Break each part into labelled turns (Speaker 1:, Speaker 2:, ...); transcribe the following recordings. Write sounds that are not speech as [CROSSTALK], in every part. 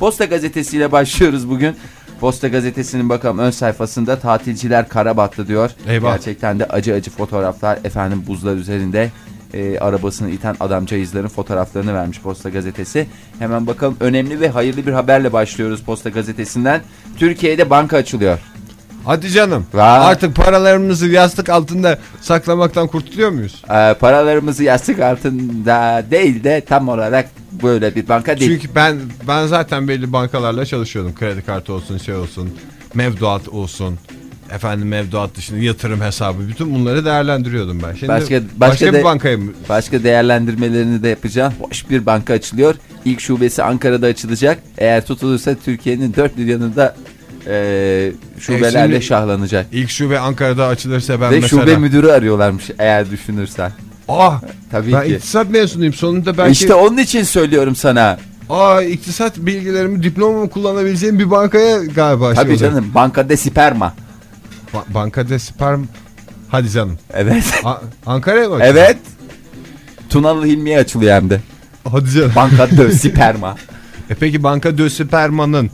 Speaker 1: Posta gazetesiyle başlıyoruz bugün. Posta gazetesinin bakalım ön sayfasında tatilciler kara battı diyor.
Speaker 2: Eyvah.
Speaker 1: Gerçekten de acı acı fotoğraflar efendim buzlar üzerinde e, arabasını iten adamcağızların fotoğraflarını vermiş Posta gazetesi. Hemen bakalım önemli ve hayırlı bir haberle başlıyoruz Posta gazetesinden. Türkiye'de banka açılıyor.
Speaker 2: Hadi canım.
Speaker 1: Vay.
Speaker 2: Artık paralarımızı yastık altında saklamaktan kurtuluyor muyuz?
Speaker 1: Ee, paralarımızı yastık altında değil de tam olarak böyle bir banka değil.
Speaker 2: Çünkü ben ben zaten belli bankalarla çalışıyordum. Kredi kartı olsun, şey olsun, mevduat olsun. Efendim mevduat dışında yatırım hesabı bütün bunları değerlendiriyordum ben. Şimdi
Speaker 1: Başka- başka
Speaker 2: başka, başka,
Speaker 1: de-
Speaker 2: bir bankaya mı?
Speaker 1: Başka değerlendirmelerini de yapacağım. Hoş bir banka açılıyor. İlk şubesi Ankara'da açılacak. Eğer tutulursa Türkiye'nin dört bir yanında e, şubelerle
Speaker 2: E şimdi-
Speaker 1: şahlanacak.
Speaker 2: İlk şube Ankara'da açılırsa ben
Speaker 1: Ve
Speaker 2: mesela...
Speaker 1: şube müdürü arıyorlarmış eğer düşünürsen.
Speaker 2: Ah
Speaker 1: Tabii
Speaker 2: ben
Speaker 1: ki.
Speaker 2: iktisat mezunuyum sonunda belki...
Speaker 1: İşte onun için söylüyorum sana.
Speaker 2: Aa iktisat bilgilerimi diplomamı kullanabileceğim bir bankaya galiba şey
Speaker 1: Tabii
Speaker 2: olacak.
Speaker 1: canım bankada siperma.
Speaker 2: Ba- bankada sperm... Hadi canım.
Speaker 1: Evet.
Speaker 2: A- Ankara'ya mı? açılıyor?
Speaker 1: [LAUGHS] evet. Tunalı Hilmi'ye açılıyor hem de.
Speaker 2: Hadi canım. [LAUGHS]
Speaker 1: Bankada siperma.
Speaker 2: E peki banka de Süperman'ın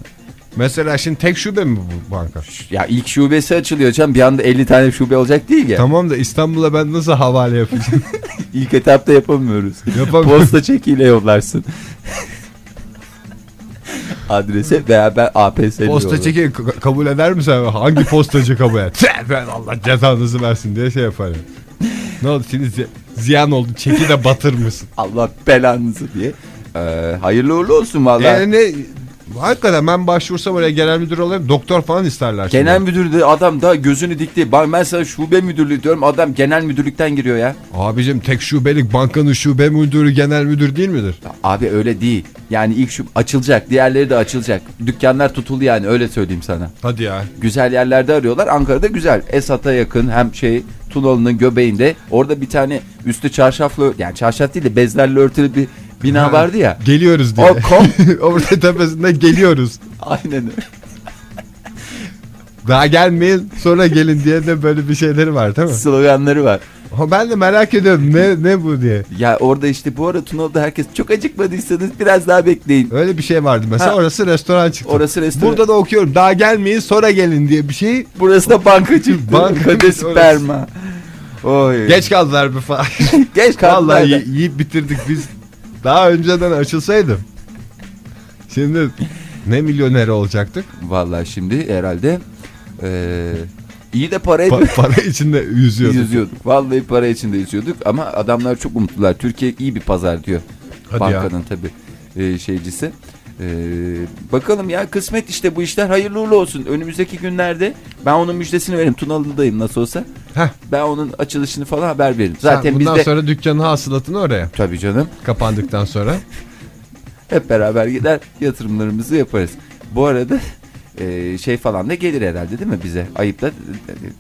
Speaker 2: mesela şimdi tek şube mi bu banka?
Speaker 1: Ya ilk şubesi açılıyor canım. Bir anda 50 tane şube olacak değil ya.
Speaker 2: Tamam da İstanbul'a ben nasıl havale yapacağım?
Speaker 1: İlk etapta yapamıyoruz.
Speaker 2: Yapamıyorum.
Speaker 1: Posta çekiyle yollarsın. [LAUGHS] Adrese beraber APS'li
Speaker 2: posta
Speaker 1: yollarsın.
Speaker 2: çeki ka- kabul eder mi sen? Hangi postacı kabul eder? Tüh, ben Allah cezanızı versin diye şey yaparım. Ne oldu şimdi zi- ziyan oldu çeki de [LAUGHS] batırmışsın.
Speaker 1: Allah belanızı diye. Ee, hayırlı uğurlu olsun valla.
Speaker 2: Yani E ne, hakikaten ben başvursam oraya genel müdür olayım doktor falan isterler. şimdi.
Speaker 1: genel müdür de adam da gözünü dikti. Bak ben sana şube müdürlüğü diyorum adam genel müdürlükten giriyor ya.
Speaker 2: Abicim tek şubelik bankanın şube müdürü genel müdür değil midir?
Speaker 1: Ya Abi öyle değil. Yani ilk şu açılacak diğerleri de açılacak. Dükkanlar tutuldu yani öyle söyleyeyim sana.
Speaker 2: Hadi ya.
Speaker 1: Güzel yerlerde arıyorlar. Ankara'da güzel. Esat'a yakın hem şey Tunalı'nın göbeğinde. Orada bir tane üstü çarşaflı yani çarşaf değil de bezlerle örtülü bir bina
Speaker 2: Ha.
Speaker 1: vardı ya.
Speaker 2: Geliyoruz diye.
Speaker 1: O
Speaker 2: [LAUGHS]
Speaker 1: kom
Speaker 2: Orada tepesinde geliyoruz.
Speaker 1: aynen öyle.
Speaker 2: Daha gelmeyin sonra gelin diye de böyle bir şeyleri var değil mi?
Speaker 1: sloganları var.
Speaker 2: Ama ben de merak ediyorum ne, ne bu diye.
Speaker 1: Ya orada işte bu ara Tunalı'da herkes çok acıkmadıysanız biraz daha bekleyin.
Speaker 2: Öyle bir şey vardı mesela
Speaker 1: Ha.
Speaker 2: orası restoran çıktı.
Speaker 1: Orası restoran.
Speaker 2: Burada da okuyorum daha gelmeyin sonra gelin diye bir şey.
Speaker 1: Burası da banka çıktı.
Speaker 2: [LAUGHS] Banka
Speaker 1: Bankada
Speaker 2: orası.
Speaker 1: sperma. Oy.
Speaker 2: Geç kaldılar bir falan.
Speaker 1: geç kaldılar
Speaker 2: Vallahi
Speaker 1: da.
Speaker 2: yi- yiyip bitirdik biz. Daha önceden açılsaydım. Şimdi ne milyoner olacaktık?
Speaker 1: Vallahi şimdi herhalde eee iyi de para etmiyor.
Speaker 2: Pa- para içinde yüzüyorduk.
Speaker 1: yüzüyorduk. Vallahi para içinde yüzüyorduk ama adamlar çok umutlular. Türkiye iyi bir pazar diyor.
Speaker 2: Hadi ya.
Speaker 1: Bankanın tabii e, şeycisi. E, bakalım ya kısmet işte bu işler hayırlı uğurlu olsun. Önümüzdeki günlerde ben onun müjdesini veririm. Tunalı'dayım nasıl olsa.
Speaker 2: Heh.
Speaker 1: Ben onun açılışını falan haber veririm.
Speaker 2: Sen
Speaker 1: Zaten biz
Speaker 2: bundan
Speaker 1: de
Speaker 2: sonra dükkanın hasılatını oraya
Speaker 1: tabii canım
Speaker 2: kapandıktan sonra.
Speaker 1: hep beraber gider yatırımlarımızı yaparız. Bu arada e, şey falan da gelir herhalde değil mi bize? Ayıp da e,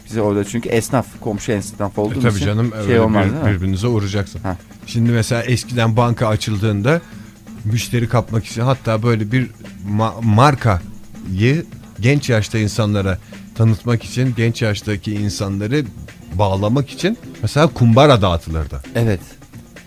Speaker 1: bize orada çünkü esnaf, komşu esnaf
Speaker 2: E
Speaker 1: olduğumuz
Speaker 2: tabii
Speaker 1: için
Speaker 2: canım
Speaker 1: şey
Speaker 2: öyle
Speaker 1: olmaz
Speaker 2: bir-
Speaker 1: değil mi?
Speaker 2: birbirinize uğrayacaksın.
Speaker 1: Ha.
Speaker 2: Şimdi mesela eskiden banka açıldığında müşteri kapmak için hatta böyle bir ma- markayı genç yaşta insanlara tanıtmak için genç yaştaki insanları bağlamak için mesela kumbara dağıtılırdı.
Speaker 1: Evet.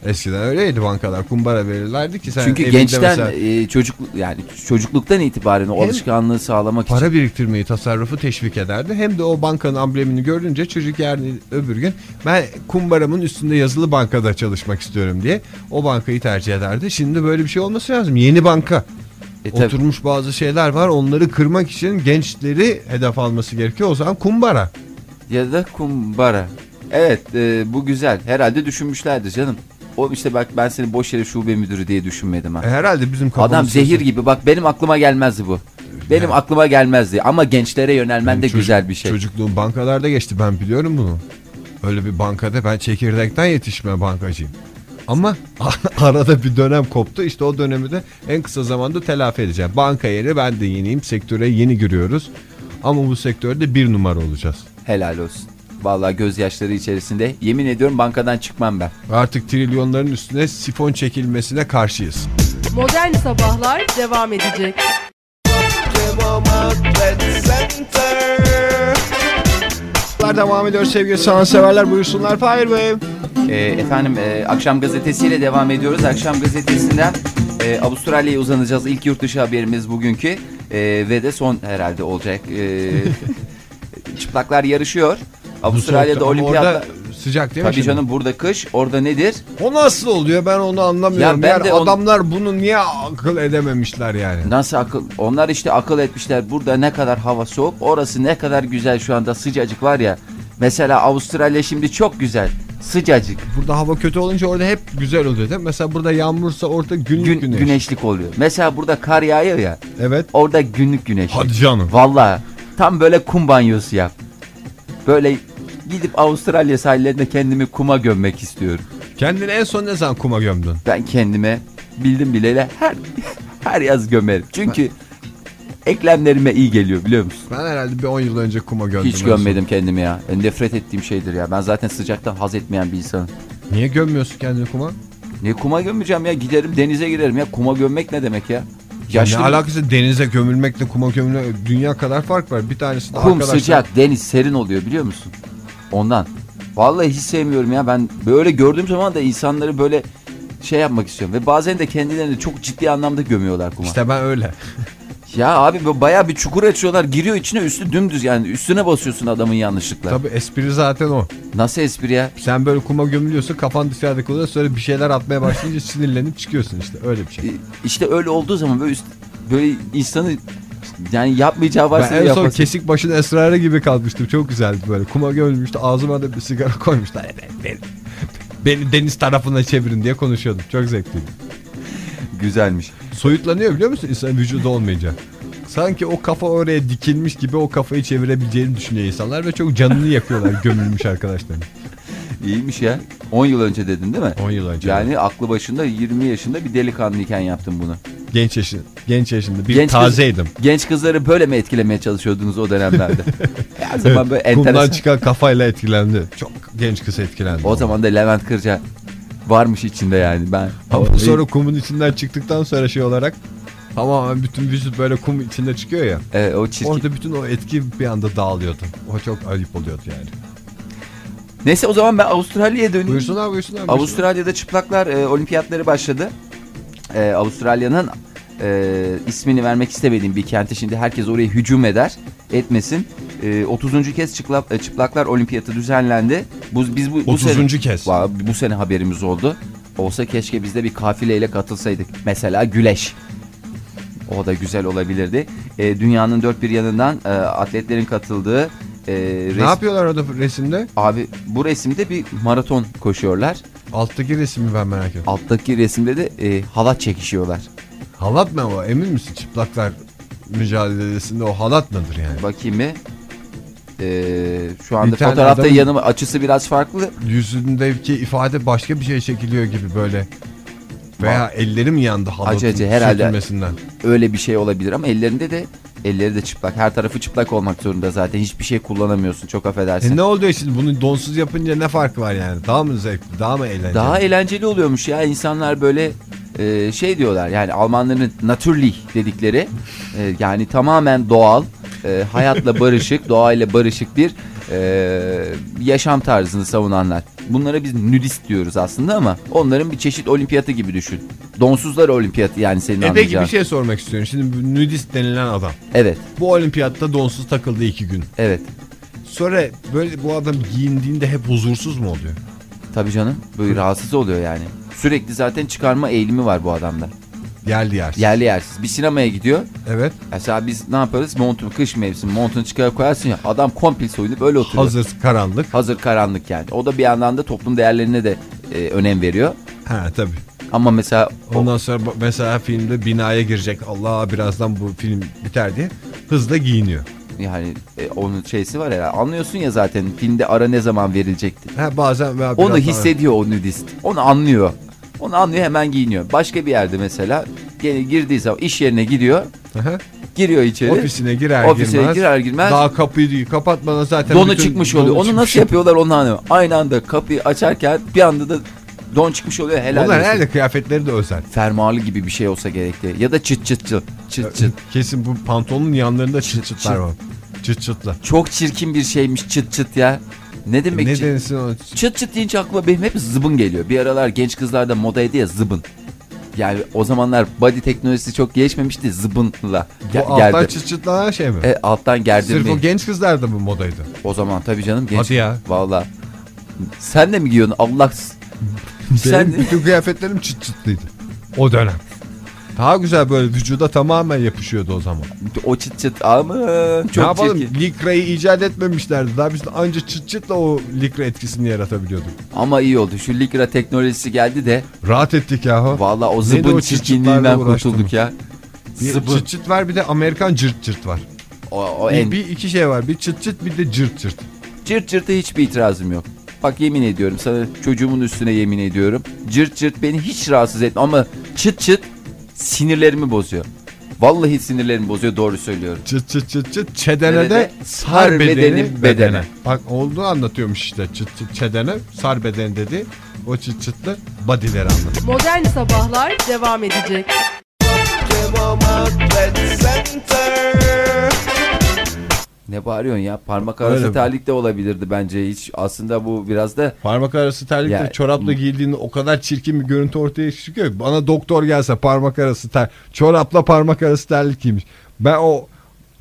Speaker 2: Eskiden öyleydi bankalar kumbara verirlerdi ki sen
Speaker 1: Çünkü
Speaker 2: evinde
Speaker 1: gençten
Speaker 2: mesela
Speaker 1: e, çocuk yani çocukluktan itibaren o
Speaker 2: Hem
Speaker 1: alışkanlığı sağlamak için
Speaker 2: para biriktirmeyi tasarrufu teşvik ederdi. Hem de o bankanın amblemini görünce çocuk yani öbür gün ben kumbaramın üstünde yazılı bankada çalışmak istiyorum diye o bankayı tercih ederdi. Şimdi böyle bir şey olması lazım. Yeni banka.
Speaker 1: E, tabii.
Speaker 2: Oturmuş bazı şeyler var. Onları kırmak için gençleri hedef alması gerekiyor. O zaman kumbara.
Speaker 1: ya da kumbara. Evet e, bu güzel. Herhalde düşünmüşlerdir canım. Oğlum işte bak ben seni boş yere şube müdürü diye düşünmedim ha.
Speaker 2: E, herhalde bizim kafamız...
Speaker 1: Adam zehir gibi bak benim aklıma gelmezdi bu. Benim aklıma gelmezdi ama gençlere yönelmen de
Speaker 2: Çocuk-
Speaker 1: güzel bir şey.
Speaker 2: Çocukluğum bankalarda geçti. Ben biliyorum bunu. Öyle bir bankada ben çekirdekten yetişme bankacıyım. Ama [LAUGHS] arada bir dönem koptu. İşte o dönemi de en kısa zamanda telafi edeceğim. Banka yeri ben de yeniyim. Sektöre yeni giriyoruz. Ama bu sektörde bir numara olacağız.
Speaker 1: Helal olsun. Vallahi gözyaşları içerisinde yemin ediyorum bankadan çıkmam ben.
Speaker 2: Artık trilyonların üstüne sifon çekilmesine karşıyız.
Speaker 3: Modern Sabahlar devam edecek.
Speaker 2: Devam ediyor sevgili sanatseverler buyursunlar. Fahir Bey.
Speaker 1: E, efendim e, akşam gazetesiyle devam ediyoruz. Akşam gazetesinden e, Avustralya'ya uzanacağız. İlk yurt dışı haberimiz bugünkü E, ve de son herhalde olacak.
Speaker 2: [LAUGHS]
Speaker 1: E, çıplaklar yarışıyor. Avustralya'da
Speaker 2: soğukta. Ama
Speaker 1: olimpiyatlar.
Speaker 2: Orada sıcak değil mi
Speaker 1: Tabii
Speaker 2: şimdi?
Speaker 1: canım burada kış, orada nedir?
Speaker 2: O nasıl oluyor ben onu anlamıyorum.
Speaker 1: Ya ben
Speaker 2: Yani
Speaker 1: de onu-
Speaker 2: adamlar bunu niye akıl edememişler yani?
Speaker 1: Nasıl akıl? Onlar işte akıl etmişler. Burada ne kadar hava soğuk, orası ne kadar güzel şu anda sıcacık var ya. Mesela Avustralya şimdi çok güzel. Sıcacık.
Speaker 2: Burada hava kötü olunca orada hep güzel oluyor değil mi? Mesela burada yağmursa orada günlük
Speaker 1: Gün,
Speaker 2: güneş.
Speaker 1: güneşlik oluyor. Mesela burada kar yağıyor ya.
Speaker 2: Evet.
Speaker 1: Orada günlük güneşlik.
Speaker 2: Hadi canım.
Speaker 1: Valla tam böyle kum banyosu yap. Böyle gidip Avustralya sahillerinde kendimi kuma gömmek istiyorum.
Speaker 2: Kendini en son ne zaman kuma gömdün?
Speaker 1: Ben kendime bildim bileli her [LAUGHS] her yaz gömerim. Çünkü eklemlerime iyi geliyor biliyor musun?
Speaker 2: Ben herhalde bir 10 yıl önce kuma gömdüm. en
Speaker 1: Hiç
Speaker 2: son.
Speaker 1: gömmedim kendimi ya. En Nefret ettiğim şeydir ya. Ben zaten sıcaktan haz etmeyen bir insanım.
Speaker 2: Niye gömmüyorsun kendini kuma?
Speaker 1: Ne kuma gömeceğim ya? Giderim denize girerim ya. Kuma gömmek ne demek ya? Yaşlı
Speaker 2: ne alakası denize gömülmekle kuma gömülmek dünya kadar fark var. Bir tanesi de
Speaker 1: kum
Speaker 2: arkadaşlar-
Speaker 1: sıcak, deniz serin oluyor biliyor musun? Ondan. Vallahi hiç sevmiyorum ya. Ben böyle gördüğüm zaman da insanları böyle şey yapmak istiyorum. Ve bazen de kendilerini çok ciddi anlamda gömüyorlar kuma.
Speaker 2: İşte ben öyle.
Speaker 1: Ya abi bu bayağı bir çukur açıyorlar. Giriyor içine üstü dümdüz yani. Üstüne basıyorsun adamın yanlışlıkla.
Speaker 2: Tabii espri zaten o.
Speaker 1: Nasıl espri ya?
Speaker 2: Sen böyle kuma gömülüyorsun kafan dışarıda kalıyor sonra bir şeyler atmaya başlayınca sinirlenip çıkıyorsun işte öyle bir şey.
Speaker 1: E, İşte öyle olduğu zaman böyle üst- böyle insanı yani yapmayacağı
Speaker 2: Ben
Speaker 1: varsa
Speaker 2: en son
Speaker 1: yapasın.
Speaker 2: kesik başın esrarı gibi kalmıştım. Çok güzeldi böyle. Kuma gömülmüştü. Ağzıma da bir sigara koymuşlar. Evet, beni, beni deniz tarafına çevirin diye konuşuyordum. Çok zevkliydi.
Speaker 1: Güzelmiş.
Speaker 2: Soyutlanıyor biliyor musun? İnsan vücuda olmayınca. Sanki o kafa oraya dikilmiş gibi o kafayı çevirebileceğini düşünüyor insanlar ve çok canını yakıyorlar [LAUGHS] gömülmüş arkadaşlar.
Speaker 1: İyiymiş ya. 10 yıl önce dedin değil mi?
Speaker 2: 10 yıl önce.
Speaker 1: Yani aklı başında 20 yaşında bir delikanlıyken yaptım bunu.
Speaker 2: Genç yaşın, genç yaşında bir
Speaker 1: Genç kız-
Speaker 2: tazeydim.
Speaker 1: Genç kızları böyle mi etkilemeye çalışıyordunuz o
Speaker 2: [LAUGHS]
Speaker 1: dönemlerde? Her zaman böyle
Speaker 2: Kumdan
Speaker 1: enteresan.
Speaker 2: çıkan kafayla etkilendi. Çok genç kız etkilendi.
Speaker 1: O zaman da Levent Kırca varmış içinde yani ben.
Speaker 2: Ama sonra kumun içinden çıktıktan sonra şey olarak tamamen bütün vücut böyle kum içinde çıkıyor ya.
Speaker 1: E, o çirkin.
Speaker 2: Orada bütün o etki bir anda dağılıyordu. O çok ayıp oluyordu yani.
Speaker 1: Neyse o zaman ben Avustralya'ya döneyim.
Speaker 2: Buyursunlar buyursunlar. buyursunlar.
Speaker 1: Avustralya'da çıplaklar e, olimpiyatları başladı. E, Avustralya'nın e, ismini vermek istemediğim bir kenti şimdi herkes oraya hücum eder etmesin. E, 30. kez çıplak, e, çıplaklar olimpiyatı düzenlendi. Bu, biz bu, bu sene,
Speaker 2: 30. kez.
Speaker 1: Va- bu sene haberimiz oldu. Olsa keşke biz de bir kafileyle katılsaydık. Mesela güleş. O da güzel olabilirdi. E, dünyanın dört bir yanından e, atletlerin katıldığı e,
Speaker 2: Ne
Speaker 1: res-
Speaker 2: yapıyorlar orada resimde?
Speaker 1: Abi bu resimde bir maraton koşuyorlar.
Speaker 2: Alttaki resmi ben merak ediyorum.
Speaker 1: Alttaki resimde de e, halat çekişiyorlar.
Speaker 2: Halat mı o? Emin misin çıplaklar mücadelesinde o halat mıdır yani?
Speaker 1: Bakayım mı? şu anda
Speaker 2: Bir tane
Speaker 1: fotoğrafta
Speaker 2: adamın-
Speaker 1: yanıma açısı biraz farklı.
Speaker 2: Yüzündeki ifade başka bir şey çekiliyor gibi böyle. Veya elleri mi yandı halatın
Speaker 1: Acı acı, herhalde.
Speaker 2: sürtünmesinden?
Speaker 1: Öyle bir şey olabilir ama ellerinde de elleri de çıplak. Her tarafı çıplak olmak zorunda zaten. Hiçbir şey kullanamıyorsun. Çok affedersin.
Speaker 2: E ne oluyor şimdi bunu donsuz yapınca ne farkı var yani? Daha mı zevkli? Daha mı eğlenceli? E,
Speaker 1: Daha eğlenceli oluyormuş ya. İnsanlar böyle e, şey diyorlar. Yani Almanların natürlich dedikleri e, yani tamamen doğal, e, hayatla [LAUGHS] barışık, doğayla barışık bir e, yaşam tarzını savunanlar. Bunlara biz nudist diyoruz aslında ama onların bir çeşit olimpiyatı gibi düşün. Donsuzlar olimpiyatı yani senin
Speaker 2: E peki
Speaker 1: anlayacağın.
Speaker 2: bir şey sormak istiyorum. Şimdi bu nudist denilen adam.
Speaker 1: Evet,
Speaker 2: Bu olimpiyatta donsuz takıldı iki gün.
Speaker 1: evet.
Speaker 2: Sonra böyle bu adam giyindiğinde hep huzursuz mu oluyor?
Speaker 1: Tabii canım. Böyle rahatsız oluyor yani. Sürekli zaten çıkarma eğilimi var bu adamda.
Speaker 2: Yerli yersiz.
Speaker 1: Yerli yersiz. Bir sinemaya gidiyor.
Speaker 2: Evet.
Speaker 1: Mesela biz ne yaparız? Montun, kış mevsimi montunu çıkarıp koyarsın ya. Adam komple soyunup öyle oturuyor. Hazır.
Speaker 2: Hazır karanlık.
Speaker 1: karanlık yani. O da bir yandan da toplum değerlerine de e, önem veriyor.
Speaker 2: Ha tabii.
Speaker 1: Ama mesela o-
Speaker 2: Ondan sonra ba- mesela filmde binaya girecek. Allah birazdan bu film biter diye hızla giyiniyor.
Speaker 1: yani e, onun şeysi var ya. Anlıyorsun ya zaten filmde ara ne zaman verilecekti.
Speaker 2: Ha bazen veya
Speaker 1: Onu
Speaker 2: biraz daha-
Speaker 1: hissediyor o nudist. Onu anlıyor. Onu anlıyor hemen giyiniyor. Başka bir yerde mesela gene girdiği zaman iş yerine gidiyor.
Speaker 2: Aha.
Speaker 1: Giriyor içeri.
Speaker 2: Ofisine girer
Speaker 1: Ofisine
Speaker 2: girmez.
Speaker 1: girer girmez-
Speaker 2: Daha kapıyı kapatmadan zaten
Speaker 1: Donu
Speaker 2: bütün-
Speaker 1: çıkmış
Speaker 2: donu
Speaker 1: oluyor. Onu
Speaker 2: çıkmış.
Speaker 1: nasıl yapıyorlar onu anlamıyorum. Aynı anda kapıyı açarken bir anda da don çıkmış oluyor. Helal
Speaker 2: Onlar
Speaker 1: olsun.
Speaker 2: herhalde kıyafetleri de özel.
Speaker 1: fermuarlı gibi bir şey olsa gerekti. Ya da çıt çıt çıt çıt çıt.
Speaker 2: Kesin bu pantolonun yanlarında çıt
Speaker 1: Çıt
Speaker 2: çıtlar
Speaker 1: çıt.
Speaker 2: var. Çıt çıtlar.
Speaker 1: Çok çirkin bir şeymiş çıt çıt ya. Ne demek
Speaker 2: Ne
Speaker 1: çıt?
Speaker 2: denilsin onun için?
Speaker 1: Çıt çıt deyince aklıma benim hep zıbın geliyor. Bir aralar genç kızlarda modaydı ya zıbın. Yani o zamanlar body teknolojisi çok gelişmemişti zıbınla.
Speaker 2: Bu
Speaker 1: Ge-
Speaker 2: alttan
Speaker 1: gerdi-
Speaker 2: çıt çıtlanan şey mi?
Speaker 1: E, alttan
Speaker 2: Sırf
Speaker 1: gerdirmeyi.
Speaker 2: o genç kızlarda mı modaydı?
Speaker 1: O zaman tabii canım genç.
Speaker 2: Hadi ya.
Speaker 1: Valla. Sen de mi giyiyorsun Allah? Sen
Speaker 2: Benim bütün kıyafetlerim çıt çıtlıydı. O dönem. Daha güzel böyle vücuda tamamen yapışıyordu o zaman.
Speaker 1: o çıt çıt aman
Speaker 2: ne
Speaker 1: çok
Speaker 2: yapalım
Speaker 1: çirkin.
Speaker 2: likrayı icat etmemişlerdi. Daha biz de anca çıt çıtla o likra etkisini yaratabiliyorduk.
Speaker 1: Ama iyi oldu. Şu Likra teknolojisi geldi de
Speaker 2: Rahat ettik yahu.
Speaker 1: valla o
Speaker 2: Neydi
Speaker 1: zıbın
Speaker 2: o çıt çıtlarla
Speaker 1: çirkinliğinden
Speaker 2: uğraştım.
Speaker 1: kurtulduk ya.
Speaker 2: Bir
Speaker 1: Zıbın.
Speaker 2: çıt çıt var bir de Amerikan cırt cırt var.
Speaker 1: O, o
Speaker 2: Bir,
Speaker 1: en.
Speaker 2: bir iki şey var. Bir çıt çıt bir de cırt cırt.
Speaker 1: Cırt cırta hiçbir itirazım yok. Bak yemin ediyorum sana çocuğumun üstüne yemin ediyorum. Cırt cırt beni hiç rahatsız etmiyor ama çıt çıt sinirlerimi bozuyor. Vallahi sinirlerimi bozuyor doğru söylüyorum.
Speaker 2: Çıt çıt çıt çıt çedene de
Speaker 1: Nerede?
Speaker 2: sar
Speaker 1: Sar
Speaker 2: bedeni bedene.
Speaker 1: bedeni bedene.
Speaker 2: Bak olduğu anlatıyormuş işte çıt çıt çedene sar bedeni dedi. O çıt çıtlı bodyleri anlatıyor.
Speaker 3: Modern Sabahlar devam edecek.
Speaker 1: Ne bağırıyorsun ya? Parmak
Speaker 2: Öyle mi?
Speaker 1: arası terlik de olabilirdi bence hiç. Aslında bu biraz da
Speaker 2: Parmak arası terlikle
Speaker 1: Ya-
Speaker 2: çorapla giyildiğinde o kadar çirkin bir görüntü ortaya çıkıyor. ki. Bana doktor gelse parmak arası ter, çorapla parmak arası terlik giymiş. Ben o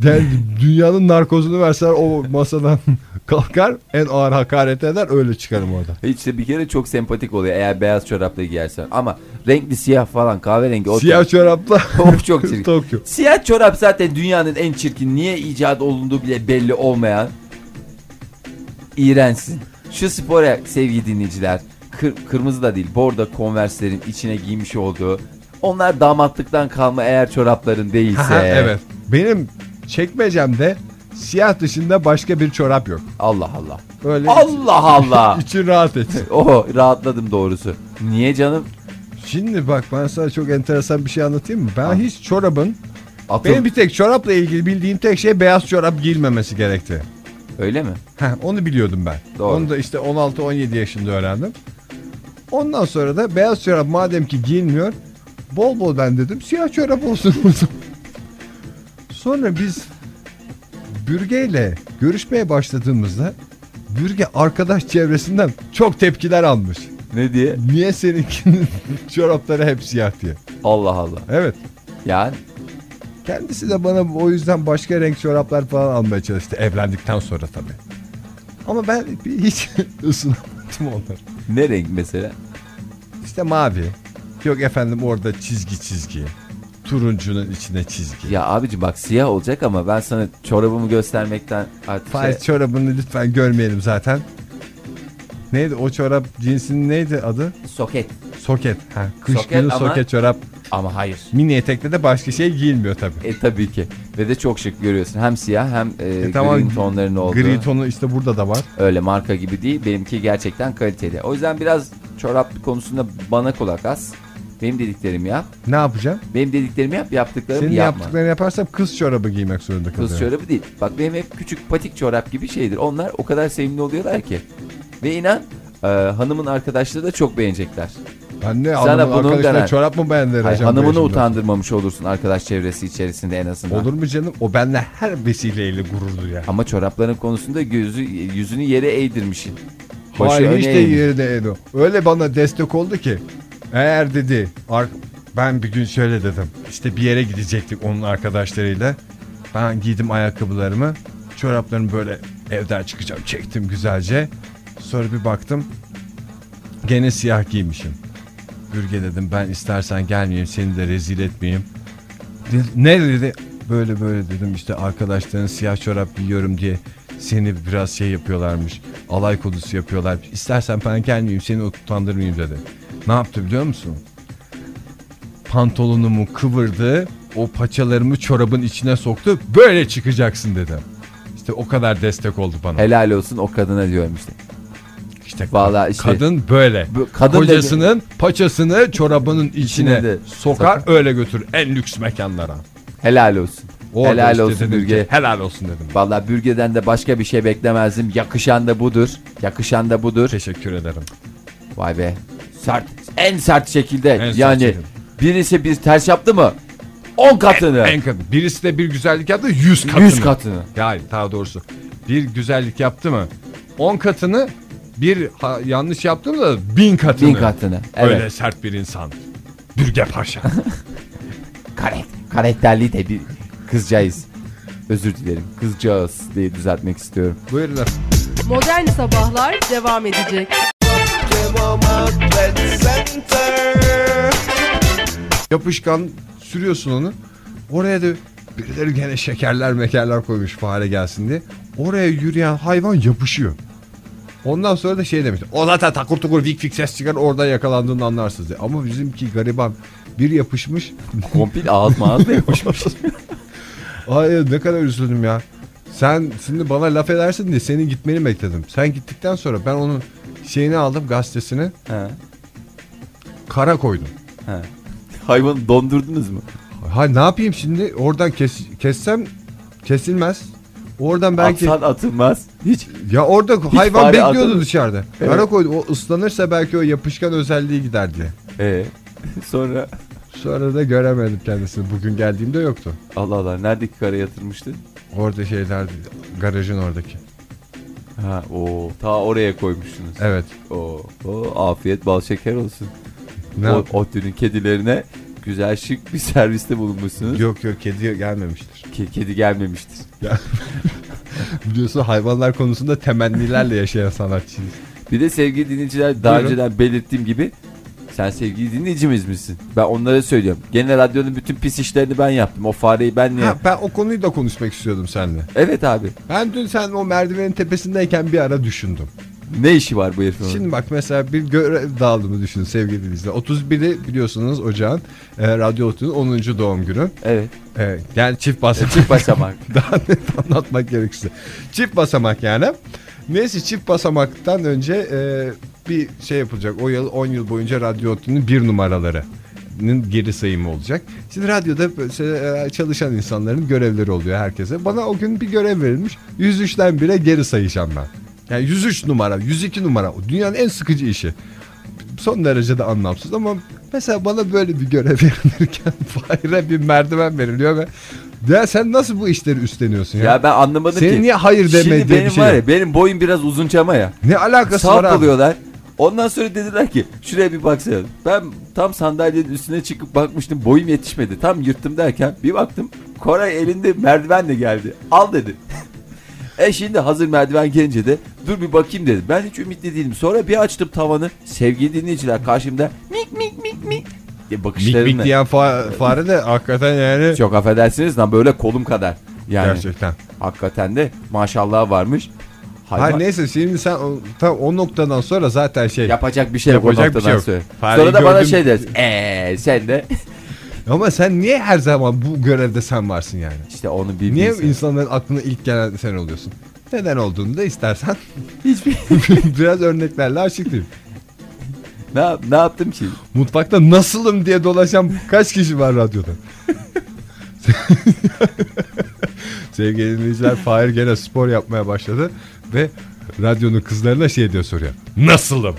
Speaker 2: de- dünyanın narkozunu verseler o masadan [LAUGHS] kalkar en ağır hakaret eder öyle çıkarım orada.
Speaker 1: işte bir kere çok sempatik oluyor eğer beyaz çorapla giyersen. Ama renkli siyah falan kahverengi o
Speaker 2: Siyah çorapla
Speaker 1: [LAUGHS] o
Speaker 2: [LAUGHS]
Speaker 1: çok çirkin.
Speaker 2: Tokyo.
Speaker 1: Siyah çorap zaten dünyanın en çirkin. Niye icat olunduğu bile belli olmayan. İğrensin. Şu spora sevgili dinleyiciler. kır- kırmızı da değil. Bordo konverslerin içine giymiş olduğu. Onlar damatlıktan kalma eğer çorapların değilse.
Speaker 2: Ha, [LAUGHS] evet. Benim çekmecemde siyah dışında başka bir çorap yok.
Speaker 1: Allah Allah.
Speaker 2: Öyle
Speaker 1: Allah Allah. [LAUGHS]
Speaker 2: için rahat etsin.
Speaker 1: Oho rahatladım doğrusu. Niye canım?
Speaker 2: Şimdi bak ben sana çok enteresan bir şey anlatayım mı? Ben
Speaker 1: Anlat.
Speaker 2: hiç çorabın
Speaker 1: Atıl.
Speaker 2: Benim bir tek çorapla ilgili bildiğim tek şey beyaz çorap giyilmemesi gerekti.
Speaker 1: Öyle mi?
Speaker 2: Heh, onu biliyordum ben.
Speaker 1: Doğru.
Speaker 2: Onu da işte 16-17 yaşında öğrendim. Ondan sonra da beyaz çorap madem ki giyilmiyor bol bol ben dedim siyah çorap olsun o zaman. Sonra biz Bürge'yle görüşmeye başladığımızda Bürge arkadaş çevresinden çok tepkiler almış.
Speaker 1: Ne diye?
Speaker 2: Niye seninkinin [LAUGHS] çorapları hep siyah diye.
Speaker 1: Allah Allah.
Speaker 2: Evet.
Speaker 1: Yani
Speaker 2: Kendisi de bana o yüzden başka renk çoraplar falan almaya çalıştı evlendikten sonra tabii. Ama ben bir- hiç [LAUGHS] ısınamadım onları.
Speaker 1: ne renk mesela?
Speaker 2: İşte mavi. Yok efendim orada çizgi çizgi. Turuncunun içine çizgi.
Speaker 1: Ya abici bak siyah olacak ama ben sana çorabımı göstermekten artık şey-
Speaker 2: Faiz çorabını lütfen görmeyelim zaten. Neydi o çorap cinsinin neydi adı?
Speaker 1: soket.
Speaker 2: Soket. Ha, kış
Speaker 1: Soket
Speaker 2: günü
Speaker 1: ama-
Speaker 2: soket çorap.
Speaker 1: Ama hayır.
Speaker 2: Mini etekle de başka şey giyilmiyor tabii.
Speaker 1: E tabii ki. Ve de çok şık görüyorsun. Hem siyah hem e,
Speaker 2: tamam,
Speaker 1: green tonların olduğu.
Speaker 2: Gri tonu işte burada da var.
Speaker 1: Öyle marka gibi değil. Benimki gerçekten kaliteli. O yüzden biraz çorap konusunda bana kulak as. Benim dediklerimi yap.
Speaker 2: Ne yapacağım?
Speaker 1: Benim dediklerimi yap. Yaptıklarımı
Speaker 2: Senin
Speaker 1: yapma.
Speaker 2: yaptıklarını yaparsam kız çorabı giymek zorunda kalıyorum.
Speaker 1: Kız çorabı değil. Bak benim hep küçük patik çorap gibi şeydir. Onlar o kadar sevimli oluyorlar ki. Ve inan e, hanımın arkadaşları da çok beğenecekler.
Speaker 2: Ben ne
Speaker 1: Sana
Speaker 2: hanımın
Speaker 1: bunun
Speaker 2: arkadaşına
Speaker 1: denen-
Speaker 2: çorap mı beğendireceğim?
Speaker 1: Hayır,
Speaker 2: bu
Speaker 1: hanımını
Speaker 2: yaşımda?
Speaker 1: utandırmamış olursun arkadaş çevresi içerisinde en azından.
Speaker 2: Olur mu canım? O benle her vesileyle gurur duyar.
Speaker 1: Ama çorapların konusunda gözü yüzünü yere eğdirmişsin. Başı
Speaker 2: Hayır
Speaker 1: öne
Speaker 2: hiç de
Speaker 1: eğmiş.
Speaker 2: yerine Edo. Öyle bana destek oldu ki. Eğer dedi ar- ben bir gün şöyle dedim. İşte bir yere gidecektik onun arkadaşlarıyla. Ben giydim ayakkabılarımı. Çoraplarımı böyle evden çıkacağım. Çektim güzelce. Sonra bir baktım. Gene siyah giymişim. Bürge dedim ben istersen gelmeyeyim seni de rezil etmeyeyim. Dedi, Ne dedi? Böyle böyle dedim işte arkadaşların siyah çorap giyiyorum diye seni biraz şey yapıyorlarmış. Alay kodusu yapıyorlar. İstersen ben gelmeyeyim seni utandırmayayım dedi. Ne yaptı biliyor musun? Pantolonumu kıvırdı. O paçalarımı çorabın içine soktu. Böyle çıkacaksın dedi. İşte o kadar destek oldu bana.
Speaker 1: Helal olsun o kadına diyorum işte.
Speaker 2: İşte
Speaker 1: Vallahi işte-
Speaker 2: kadın böyle.
Speaker 1: Bu kadın
Speaker 2: Kocasının paçasını çorabının içine,
Speaker 1: İçine de
Speaker 2: sokar, öyle götür en lüks mekanlara.
Speaker 1: Helal olsun.
Speaker 2: Orada
Speaker 1: helal
Speaker 2: işte
Speaker 1: olsun
Speaker 2: dedim ki,
Speaker 1: Bürge.
Speaker 2: helal olsun dedim.
Speaker 1: Valla Bürge'den de başka bir şey beklemezdim. Yakışan da budur. Yakışan da budur.
Speaker 2: Teşekkür ederim.
Speaker 1: Vay be. Sert. En sert şekilde.
Speaker 2: En sert
Speaker 1: yani
Speaker 2: şekilde.
Speaker 1: birisi bir ters yaptı mı? 10 katını.
Speaker 2: En kadın. Birisi de bir güzellik yaptı 100 katını.
Speaker 1: 100 katını.
Speaker 2: Yani daha doğrusu bir güzellik yaptı mı 10 katını bir ha- yanlış yaptım da bin katını.
Speaker 1: Bin katını. Evet.
Speaker 2: Öyle sert bir insan. Bürge
Speaker 1: [LAUGHS]
Speaker 2: Paşa.
Speaker 1: Karak- karakterli de bir kızcağız. Özür dilerim. Kızcağız diye düzeltmek istiyorum.
Speaker 2: Buyurun.
Speaker 3: Modern Sabahlar devam edecek.
Speaker 2: Yapışkan sürüyorsun onu. Oraya da birileri gene şekerler mekerler koymuş fare gelsin diye. Oraya yürüyen hayvan yapışıyor. Ondan sonra da şey demiş. O zaten takur tukur vik vik ses çıkar orada yakalandığını anlarsınız diye. Ama bizimki gariban bir yapışmış.
Speaker 1: Kompil ağız mağaz mı yapmış?
Speaker 2: [LAUGHS] Ay ne kadar üzüldüm ya. Sen şimdi bana laf edersin diye senin gitmeni bekledim. Sen gittikten sonra ben onun şeyini aldım gazetesini
Speaker 1: He,
Speaker 2: kara koydum.
Speaker 1: he. Hayvanı dondurdunuz mu?
Speaker 2: Ha ne yapayım şimdi? Oradan kes, kessem kesilmez. Oradan belki
Speaker 1: Atsan atılmaz. Hiç
Speaker 2: ya orada hayvan
Speaker 1: fare
Speaker 2: bekliyordu
Speaker 1: atılır.
Speaker 2: dışarıda.
Speaker 1: Evet.
Speaker 2: Kara koydum. O ıslanırsa belki o yapışkan özelliği gider diye.
Speaker 1: Ee, sonra
Speaker 2: Sonra da göremedim kendisini. Bugün geldiğimde yoktu.
Speaker 1: Allah Allah neredeki kara yatırmıştı?
Speaker 2: Orada şeyler garajın oradaki.
Speaker 1: Ha, o ta oraya koymuştunuz.
Speaker 2: Evet.
Speaker 1: Oo, oo, afiyet bal şeker olsun.
Speaker 2: Ne
Speaker 1: o,
Speaker 2: yap-
Speaker 1: Ottu'nun kedilerine güzel şık bir serviste bulunmuşsunuz.
Speaker 2: Yok yok kedi gelmemiştir.
Speaker 1: Ke- kedi gelmemiştir.
Speaker 2: Biliyorsun hayvanlar konusunda temennilerle yaşayan sanatçıyız.
Speaker 1: Bir de sevgili dinleyiciler daha
Speaker 2: Buyurun.
Speaker 1: önceden belirttiğim gibi sen sevgili dinleyicimiz misin? Ben onlara söylüyorum. Gene radyonun bütün pis işlerini ben yaptım. O fareyi ben niye?
Speaker 2: Ha, ben o konuyu da konuşmak istiyordum seninle.
Speaker 1: Evet abi.
Speaker 2: Ben dün sen o merdivenin tepesindeyken bir ara düşündüm.
Speaker 1: Ne işi var bu herifin? orada?
Speaker 2: Şimdi bak mesela bir görev dağılımı düşünün sevgili dinleyiciler. 31'i biliyorsunuz ocağın e, radyo Otlu'nun 10. doğum günü.
Speaker 1: Evet.
Speaker 2: E, yani çift basamak.
Speaker 1: Çift basamak.
Speaker 2: [LAUGHS] Daha net anlatmak gerekirse. Çift basamak yani. Neyse çift basamaktan önce e, bir şey yapılacak. O yıl 10 yıl boyunca radyo Otlu'nun bir numaraları geri sayımı olacak. Şimdi radyoda böyle şey, e, çalışan insanların görevleri oluyor herkese. Bana o gün bir görev verilmiş. 103'ten bire geri sayacağım ben. Yani 103 numara, 102 numara. O Dünyanın en sıkıcı işi son derece de anlamsız ama mesela bana böyle bir görev [LAUGHS] verilirken Fahir'e bir merdiven veriliyor ve ya sen nasıl bu işleri üstleniyorsun ya?
Speaker 1: Ya ben anlamadım ki.
Speaker 2: Senin niye hayır deme
Speaker 1: Şimdi
Speaker 2: diye
Speaker 1: benim
Speaker 2: bir şey
Speaker 1: var
Speaker 2: yok.
Speaker 1: ya benim boyum biraz uzunçama ya.
Speaker 2: Ne alakası var abi?
Speaker 1: Sarpılıyorlar. Ondan sonra dediler ki şuraya bir baksana. Ben tam sandalyenin üstüne çıkıp bakmıştım boyum yetişmedi. Tam yırttım derken bir baktım Koray elinde merdivenle geldi. Al dedi. [LAUGHS] e şimdi hazır merdiven gelince de dur bir bakayım dedi. Ben hiç ümitli değilim. Sonra bir açtım tavanı. Sevgili dinleyiciler karşımda mik mik mik mik. diye
Speaker 2: Mik
Speaker 1: Bakışlarımla.
Speaker 2: mik diyen fa- fare de hakikaten yani
Speaker 1: Çok affedersiniz lan böyle kolum kadar. Yani
Speaker 2: gerçekten.
Speaker 1: hakikaten de maşallah varmış. Hayvan-
Speaker 2: Hayır neyse şimdi sen o, tam o noktadan sonra zaten şey.
Speaker 1: Yapacak bir şey yok.
Speaker 2: Yapacak
Speaker 1: o
Speaker 2: bir şey
Speaker 1: noktadan
Speaker 2: yok.
Speaker 1: Sonra,
Speaker 2: Fareyi
Speaker 1: sonra da bana
Speaker 2: gördüm.
Speaker 1: şey dersin. Eee sen de.
Speaker 2: Ama sen niye her zaman bu görevde sen varsın yani?
Speaker 1: işte onu bir
Speaker 2: Niye
Speaker 1: bilsen.
Speaker 2: insanların aklına ilk gelen sen oluyorsun? Neden olduğunu da istersen
Speaker 1: Hiçbir...
Speaker 2: [LAUGHS] biraz örneklerle açıklayayım.
Speaker 1: ne, yap- ne yaptım ki?
Speaker 2: Mutfakta nasılım diye dolaşan kaç kişi
Speaker 1: [LAUGHS]
Speaker 2: var radyoda? Sevgili dinleyiciler Fahir gene spor yapmaya başladı ve radyonun kızlarına şey diyor soruyor. Nasılım?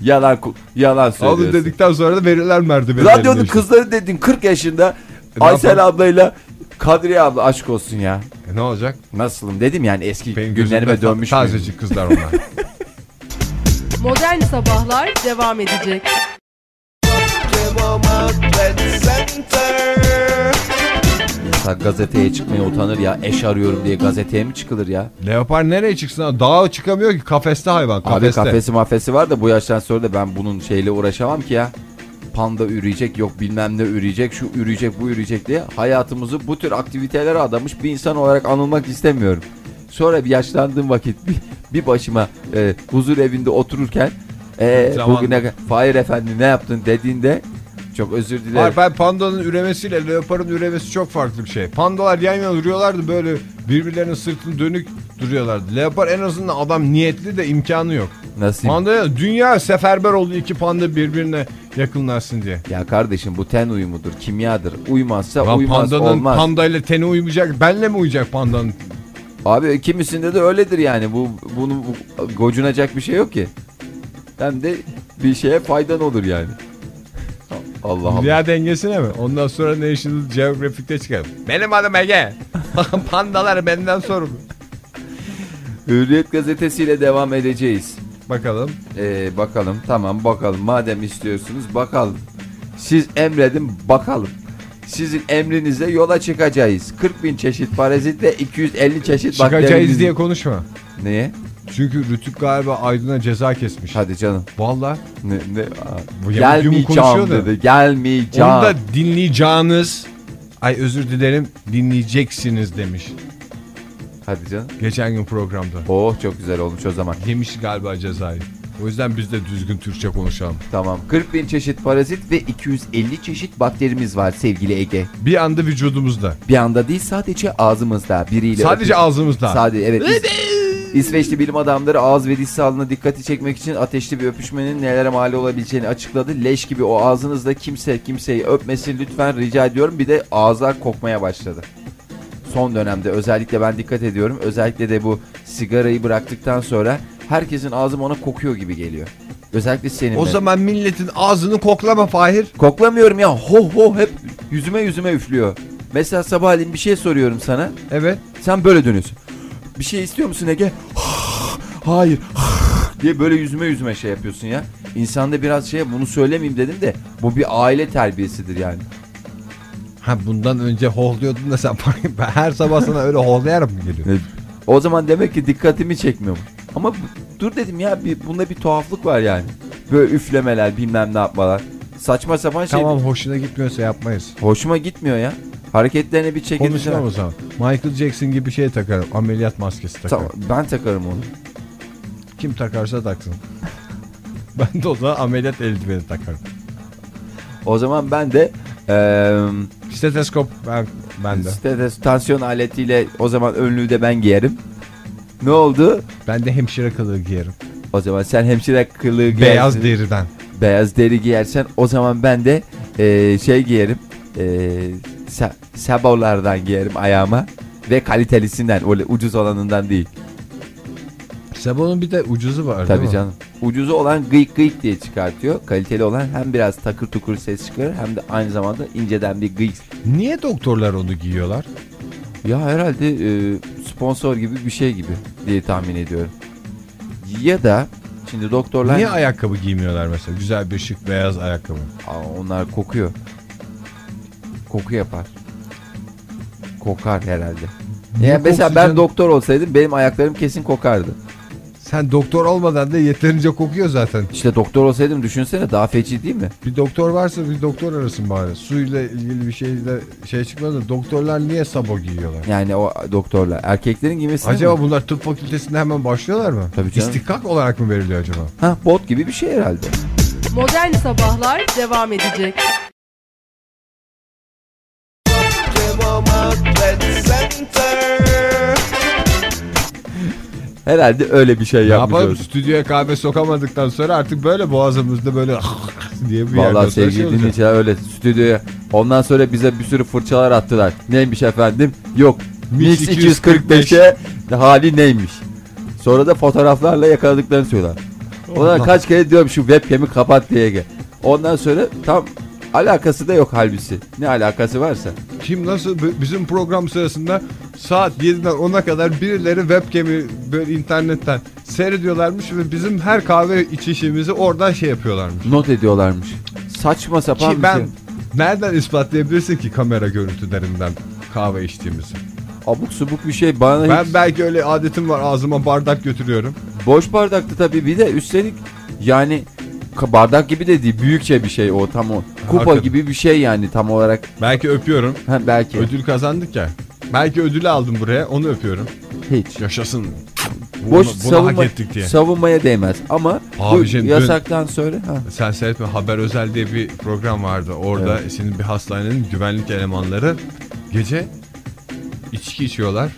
Speaker 1: Yalan ku- yalan söylüyorsun.
Speaker 2: Alın dedikten sonra da verirler merdiveni.
Speaker 1: Radyonun
Speaker 2: eline.
Speaker 1: kızları dedin 40 yaşında.
Speaker 2: E, ne
Speaker 1: Aysel
Speaker 2: yapalım?
Speaker 1: ablayla Kadriye abla aşk olsun ya.
Speaker 2: E ne olacak?
Speaker 1: Nasılım dedim yani eski
Speaker 2: Benim
Speaker 1: günlerime
Speaker 2: gözümde
Speaker 1: dönmüş. müyüm?
Speaker 2: tazecik
Speaker 1: [LAUGHS]
Speaker 2: kızlar onlar.
Speaker 3: Modern Sabahlar devam edecek.
Speaker 1: Mesela gazeteye çıkmaya utanır ya. Eş arıyorum diye gazeteye mi çıkılır ya?
Speaker 2: Leopar nereye çıksın? Dağa çıkamıyor ki kafeste hayvan
Speaker 1: Abi
Speaker 2: kafeste.
Speaker 1: kafesi mafesi var da bu yaştan sonra da ben bunun şeyle uğraşamam ki ya. Panda üreyecek yok bilmem ne üreyecek şu üreyecek bu üreyecek diye hayatımızı bu tür aktivitelere adamış bir insan olarak anılmak istemiyorum. Sonra bir yaşlandığım vakit bir, bir başıma e, huzur evinde otururken e,
Speaker 2: Zaman-
Speaker 1: bugüne Fahir Efendi ne yaptın dediğinde çok özür dilerim.
Speaker 2: Var ben pandanın üremesiyle leoparın üremesi çok farklı bir şey. Pandalar yan yana duruyorlardı böyle birbirlerinin sırtını dönük duruyorlardı. Leopar en azından adam niyetli de imkanı yok.
Speaker 1: Nasıl?
Speaker 2: Pandaya dünya seferber oldu iki panda birbirine yakınlaşsın diye.
Speaker 1: ya kardeşim bu ten uyumudur, kimyadır. Uymazsa
Speaker 2: Lan
Speaker 1: uymaz
Speaker 2: pandanın
Speaker 1: olmaz.
Speaker 2: pandayla teni uymayacak. Benle mi uyacak pandanın?
Speaker 1: Abi kimisinde de öyledir yani. Bu bunu bu- gocunacak bir şey yok ki. Hem de bir şeye faydan olur yani. Allah Allah.
Speaker 2: Dünya dengesine mi? Ondan sonra National [LAUGHS] Geographic'te çıkar. Benim adım Ege. Pandalar benden sorumlu.
Speaker 1: Hürriyet gazetesiyle devam edeceğiz.
Speaker 2: Bakalım.
Speaker 1: Ee, bakalım tamam bakalım madem istiyorsunuz bakalım. Siz emredin bakalım. Sizin emrinize yola çıkacağız. 40 bin çeşit parazitle 250 çeşit bakterimiz-
Speaker 2: Çıkacağız diye konuşma.
Speaker 1: Niye?
Speaker 2: Çünkü Rütük galiba Aydın'a ceza kesmiş.
Speaker 1: Hadi canım.
Speaker 2: Vallahi
Speaker 1: Ne, ne,
Speaker 2: Bu yamuk yumuk
Speaker 1: gelmeyeceğim
Speaker 2: konuşuyor da.
Speaker 1: dedi. Gelmeyeceğim.
Speaker 2: Onu da dinleyeceğiniz Ay özür dilerim dinleyeceksiniz demiş.
Speaker 1: Hadi canım.
Speaker 2: Geçen gün programda.
Speaker 1: Oh çok güzel olmuş o zaman.
Speaker 2: Yemiş galiba cezayı. O yüzden biz de düzgün Türkçe konuşalım.
Speaker 1: Tamam. 40 bin çeşit parazit ve 250 çeşit bakterimiz var sevgili Ege.
Speaker 2: Bir anda vücudumuzda.
Speaker 1: Bir anda değil sadece ağzımızda biriyle.
Speaker 2: Sadece ağzımızda.
Speaker 1: Sadece evet. İs- İsveçli bilim adamları ağız ve diş sağlığına dikkati çekmek için ateşli bir öpüşmenin nelere mal olabileceğini açıkladı. Leş gibi o ağzınızda kimse kimseyi öpmesin lütfen rica ediyorum. Bir de ağızlar kokmaya başladı. Son dönemde özellikle ben dikkat ediyorum. Özellikle de bu sigarayı bıraktıktan sonra herkesin ağzı ona kokuyor gibi geliyor. Özellikle senin.
Speaker 2: o
Speaker 1: benim.
Speaker 2: zaman milletin ağzını koklama Fahir.
Speaker 1: Koklamıyorum ya. Ho ho hep yüzüme yüzüme üflüyor. Mesela sabahleyin bir şey soruyorum sana.
Speaker 2: Evet.
Speaker 1: Sen böyle dönüyorsun. Bir şey istiyor musun Ege? [SIGHS] Hayır. [SIGHS] diye böyle yüzüme yüzüme şey yapıyorsun ya. İnsanda biraz şey bunu söylemeyeyim dedim de bu bir aile terbiyesidir yani.
Speaker 2: Ha bundan önce hohluyordun da sen Fahir, [LAUGHS] ben her sabah sana öyle hohlayarak mı geliyor?
Speaker 1: O zaman demek ki dikkatimi çekmiyor. Ama bu- dur dedim ya bir, bunda bir tuhaflık var yani. Böyle üflemeler bilmem ne yapmalar. Saçma sapan [LAUGHS] şey.
Speaker 2: Tamam hoşuna gitmiyorsa yapmayız.
Speaker 1: Hoşuma gitmiyor ya. Hareketlerine bir çekince.
Speaker 2: Konuşmam o zaman. Michael Jackson gibi bir şey takarım. Ameliyat maskesi takarım.
Speaker 1: Tamam, ben takarım onu.
Speaker 2: Kim takarsa taksın. ben de o zaman ameliyat eldiveni takarım.
Speaker 1: O zaman ben de eee
Speaker 2: Steteskop ben, ben de.
Speaker 1: Stres- tansiyon aletiyle o zaman önlüğü de ben giyerim. Ne oldu?
Speaker 2: Ben de hemşire kılığı giyerim.
Speaker 1: O zaman sen hemşire kılığı giyersin.
Speaker 2: Beyaz deriden.
Speaker 1: Beyaz deri giyersen o zaman ben de eee, şey giyerim. Eee se- sebolardan giyerim ayağıma. Ve kalitelisinden öyle ucuz olanından değil.
Speaker 2: Sebonun bir de ucuzu var değil
Speaker 1: Tabii
Speaker 2: mi?
Speaker 1: canım. Ucuzu olan gıyık gıyık diye çıkartıyor. Kaliteli olan hem biraz takır tukur ses çıkarır hem de aynı zamanda inceden bir gıyık.
Speaker 2: Niye doktorlar onu giyiyorlar?
Speaker 1: Ya herhalde e, sponsor gibi bir şey gibi diye tahmin ediyorum. Ya da şimdi doktorlar
Speaker 2: Niye ayakkabı giymiyorlar mesela? Güzel bir şık beyaz ayakkabı.
Speaker 1: Aa, onlar kokuyor. Koku yapar. Kokar herhalde. Ya
Speaker 2: Niye
Speaker 1: mesela
Speaker 2: koksun
Speaker 1: ben
Speaker 2: canım?
Speaker 1: doktor olsaydım benim ayaklarım kesin kokardı.
Speaker 2: Sen doktor olmadan da yeterince kokuyor zaten.
Speaker 1: İşte doktor olsaydım düşünsene daha feci değil mi?
Speaker 2: Bir doktor varsa bir doktor arasın bari. Suyla ilgili bir şeyle şey çıkmaz da doktorlar niye sabo giyiyorlar?
Speaker 1: Yani o doktorlar erkeklerin giymesi
Speaker 2: Acaba bunlar tıp fakültesinde hemen başlıyorlar mı?
Speaker 1: Tabii canım.
Speaker 2: İstihkak olarak mı veriliyor acaba?
Speaker 1: ha bot gibi bir şey herhalde.
Speaker 3: Modern Sabahlar devam edecek.
Speaker 1: Herhalde öyle bir şey
Speaker 2: Ne yapalım
Speaker 1: yapmışız.
Speaker 2: stüdyoya kahve sokamadıktan sonra artık böyle boğazımızda böyle [LAUGHS] diye bir
Speaker 1: Vallahi
Speaker 2: yerden sonra şey
Speaker 1: sevgili
Speaker 2: olacak.
Speaker 1: dinleyiciler öyle stüdyoya. Ondan sonra bize bir sürü fırçalar attılar. Neymiş efendim? Yok. Mix
Speaker 2: Mix
Speaker 1: 245'e hali neymiş? Sonra da fotoğraflarla yakaladıklarını söylüyorlar. Ona
Speaker 2: Allah.
Speaker 1: kaç kere diyorum şu webcam'i kapat diye. gel. Ondan sonra tam alakası da yok halbisi. Ne alakası varsa.
Speaker 2: Kim nasıl b- bizim program sırasında saat 7'den 10'a kadar birileri webcam'i böyle internetten seyrediyorlarmış ve bizim her kahve içişimizi oradan şey yapıyorlarmış.
Speaker 1: Not ediyorlarmış. Saçma sapan
Speaker 2: Ki
Speaker 1: bir
Speaker 2: ben
Speaker 1: şey.
Speaker 2: nereden ispatlayabilirsin ki kamera görüntülerinden kahve içtiğimizi?
Speaker 1: Abuk subuk bir şey bana
Speaker 2: Ben
Speaker 1: hiç...
Speaker 2: belki öyle adetim var ağzıma bardak götürüyorum.
Speaker 1: Boş bardaktı tabii bir de üstelik yani ka- bardak gibi de değil büyükçe bir şey o tam o. Kupa
Speaker 2: Hakikaten.
Speaker 1: gibi bir şey yani tam olarak.
Speaker 2: Belki öpüyorum.
Speaker 1: Ha, belki
Speaker 2: Ödül kazandık ya. Belki ödülü aldım buraya onu öpüyorum.
Speaker 1: hiç.
Speaker 2: Yaşasın. Bunu-
Speaker 1: Boş
Speaker 2: bunu
Speaker 1: savunma,
Speaker 2: hak ettik diye.
Speaker 1: savunmaya değmez ama bu
Speaker 2: Abicim, dün-
Speaker 1: yasaktan sonra ha.
Speaker 2: Sen seyretme Haber Özel diye bir program vardı. Orada senin bir hastanenin güvenlik elemanları gece içki içiyorlar.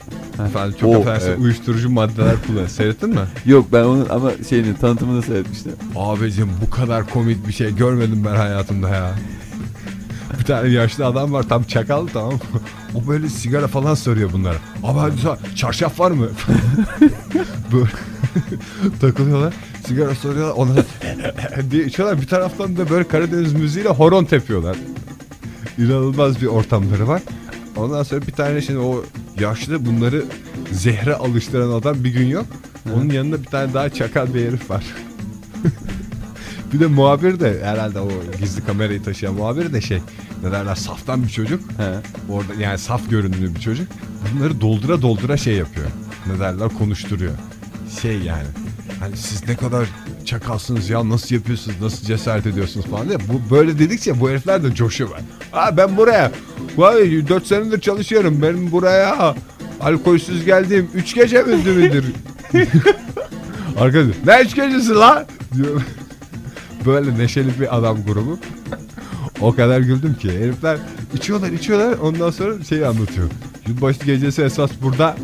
Speaker 2: Efendim çok
Speaker 1: Oo,
Speaker 2: affedersin
Speaker 1: evet.
Speaker 2: uyuşturucu maddeler kullanıyor.
Speaker 1: [LAUGHS]
Speaker 2: Seyrettin mi?
Speaker 1: Yok ben onun ama şeyini tanıtımını seyretmiştim.
Speaker 2: Abicim bu kadar komik bir şey görmedim ben hayatımda ya. bir tane yaşlı adam var tam çakal tamam mı? [LAUGHS] O böyle sigara falan soruyor bunlara. Abi hadi sa- çarşaf var mı? [LAUGHS] böyle [LAUGHS] takılıyorlar. Sigara soruyorlar. Onlar [LAUGHS] diye içiyorlar. Bir taraftan da böyle Karadeniz müziğiyle horon tepiyorlar. İnanılmaz bir ortamları var. Ondan sonra bir tane şimdi o yaşlı bunları zehre alıştıran adam bir gün yok. Onun yanında bir tane daha çakal bir herif var. [LAUGHS] bir de muhabir de herhalde o gizli kamerayı taşıyan muhabir de şey ne derler saftan bir çocuk.
Speaker 1: He.
Speaker 2: Orada yani saf görünümlü bir çocuk. Bunları doldura doldura şey yapıyor. Ne derler konuşturuyor. Şey yani. Hani siz ne kadar çakalsınız ya nasıl yapıyorsunuz nasıl cesaret ediyorsunuz falan diye. Bu böyle dedikçe bu herifler de coşuyorlar. Ha ben buraya vay 4 senedir çalışıyorum benim buraya alkolsüz geldiğim 3 gece mündü müdür? [LAUGHS] Arkadaş ne 3 gecesi la? Diyor. [LAUGHS] Böyle neşeli bir adam grubu. O kadar güldüm ki herifler içiyorlar içiyorlar ondan sonra şeyi anlatıyor. Yılbaşı gecesi esas burada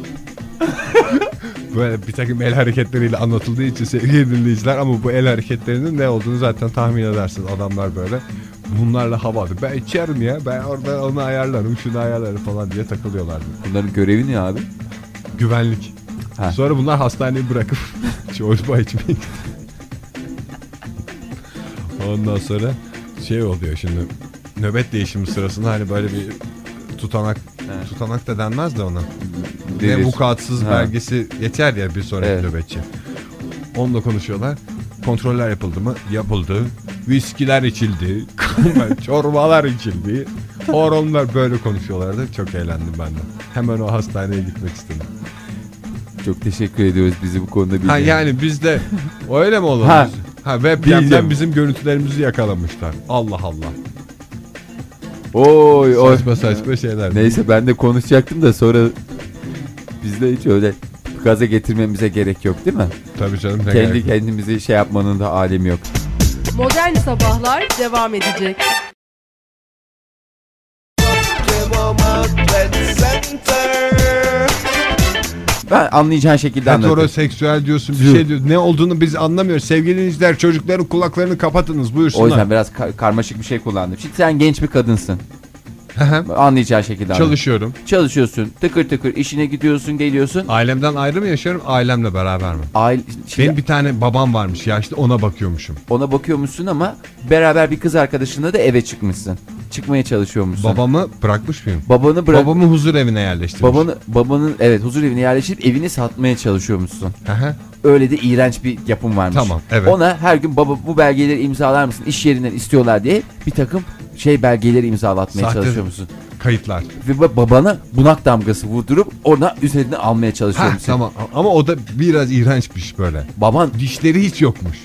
Speaker 2: böyle bir takım el hareketleriyle anlatıldığı için sevgili dinleyiciler ama bu el hareketlerinin ne olduğunu zaten tahmin edersiniz adamlar böyle bunlarla havada ben içerim ya ben orada onu ayarlarım şunu ayarlarım falan diye takılıyorlardı
Speaker 1: Bunların görevi ne abi?
Speaker 2: güvenlik
Speaker 1: Ha.
Speaker 2: sonra bunlar
Speaker 1: [LAUGHS]
Speaker 2: hastaneyi bırakıp çorba içmeye gidiyor. ondan sonra şey oluyor şimdi nöbet değişimi sırasında hani böyle bir tutanak tutanak da denmez de ona ne
Speaker 1: Delil.
Speaker 2: vukuatsız
Speaker 1: Ha.
Speaker 2: belgesi geçer ya bir sonraki
Speaker 1: Evet.
Speaker 2: nöbetçi. Onunla konuşuyorlar. Kontroller yapıldı mı? Yapıldı. Viskiler içildi. [LAUGHS] Çorbalar içildi. Horonlar böyle konuşuyorlardı. Çok eğlendim ben de. Hemen o hastaneye gitmek istedim.
Speaker 1: Çok teşekkür ediyoruz bizi bu konuda bildiğin.
Speaker 2: Ha yani biz de öyle mi olur?
Speaker 1: Ha.
Speaker 2: Ha webcam'den
Speaker 1: Bildim.
Speaker 2: bizim görüntülerimizi yakalamışlar. Allah Allah.
Speaker 1: Oy oy.
Speaker 2: Saçma saçma şeyler.
Speaker 1: Neyse ben de konuşacaktım da sonra biz de hiç öyle gaza getirmemize gerek yok değil mi?
Speaker 2: Tabii canım. ne gerek
Speaker 1: Kendi
Speaker 2: yok.
Speaker 1: kendimizi şey yapmanın da alemi yok.
Speaker 3: Modern Sabahlar devam edecek.
Speaker 1: Ben anlayacağın şekilde anlatayım.
Speaker 2: Heteroseksüel diyorsun bir
Speaker 1: Diyor.
Speaker 2: şey diyorsun. Ne olduğunu biz anlamıyoruz. Sevgili dinleyiciler çocukların kulaklarını kapatınız buyursunlar.
Speaker 1: O yüzden biraz ka- karmaşık bir şey kullandım. Şimdi sen genç bir kadınsın.
Speaker 2: Hı hı.
Speaker 1: Anlayacağın şekilde anlat.
Speaker 2: Çalışıyorum.
Speaker 1: Çalışıyorsun. Tıkır tıkır işine gidiyorsun geliyorsun.
Speaker 2: Ailemden ayrı mı yaşıyorum ailemle beraber mi?
Speaker 1: Aile, şimdi
Speaker 2: Benim bir tane babam varmış yaşlı ona bakıyormuşum.
Speaker 1: ona bakıyormuşsun ama beraber bir kız arkadaşınla da eve çıkmışsın. Çıkmaya çalışıyormuşsun.
Speaker 2: Babamı bırakmış mıyım?
Speaker 1: Babanı bırak.
Speaker 2: Babamı huzur evine yerleştirmiş.
Speaker 1: Babanı, babanın evet huzur evine yerleştirip evini satmaya çalışıyormuşsun.
Speaker 2: Hı hı.
Speaker 1: Öyle de iğrenç bir yapım varmış.
Speaker 2: Tamam, evet.
Speaker 1: Ona her gün baba bu belgeleri imzalar mısın iş yerinden istiyorlar diye bir takım şey belgeleri imzalatmaya
Speaker 2: Sahte-
Speaker 1: çalışıyormuşsun.
Speaker 2: Kayıtlar.
Speaker 1: Ve ba- babana bunak damgası vurdurup ona üzerine almaya
Speaker 2: Ha,
Speaker 1: çalışıyormuşsun.
Speaker 2: tamam ama o da biraz iğrençmiş böyle.
Speaker 1: Baban
Speaker 2: Dişleri hiç yokmuş.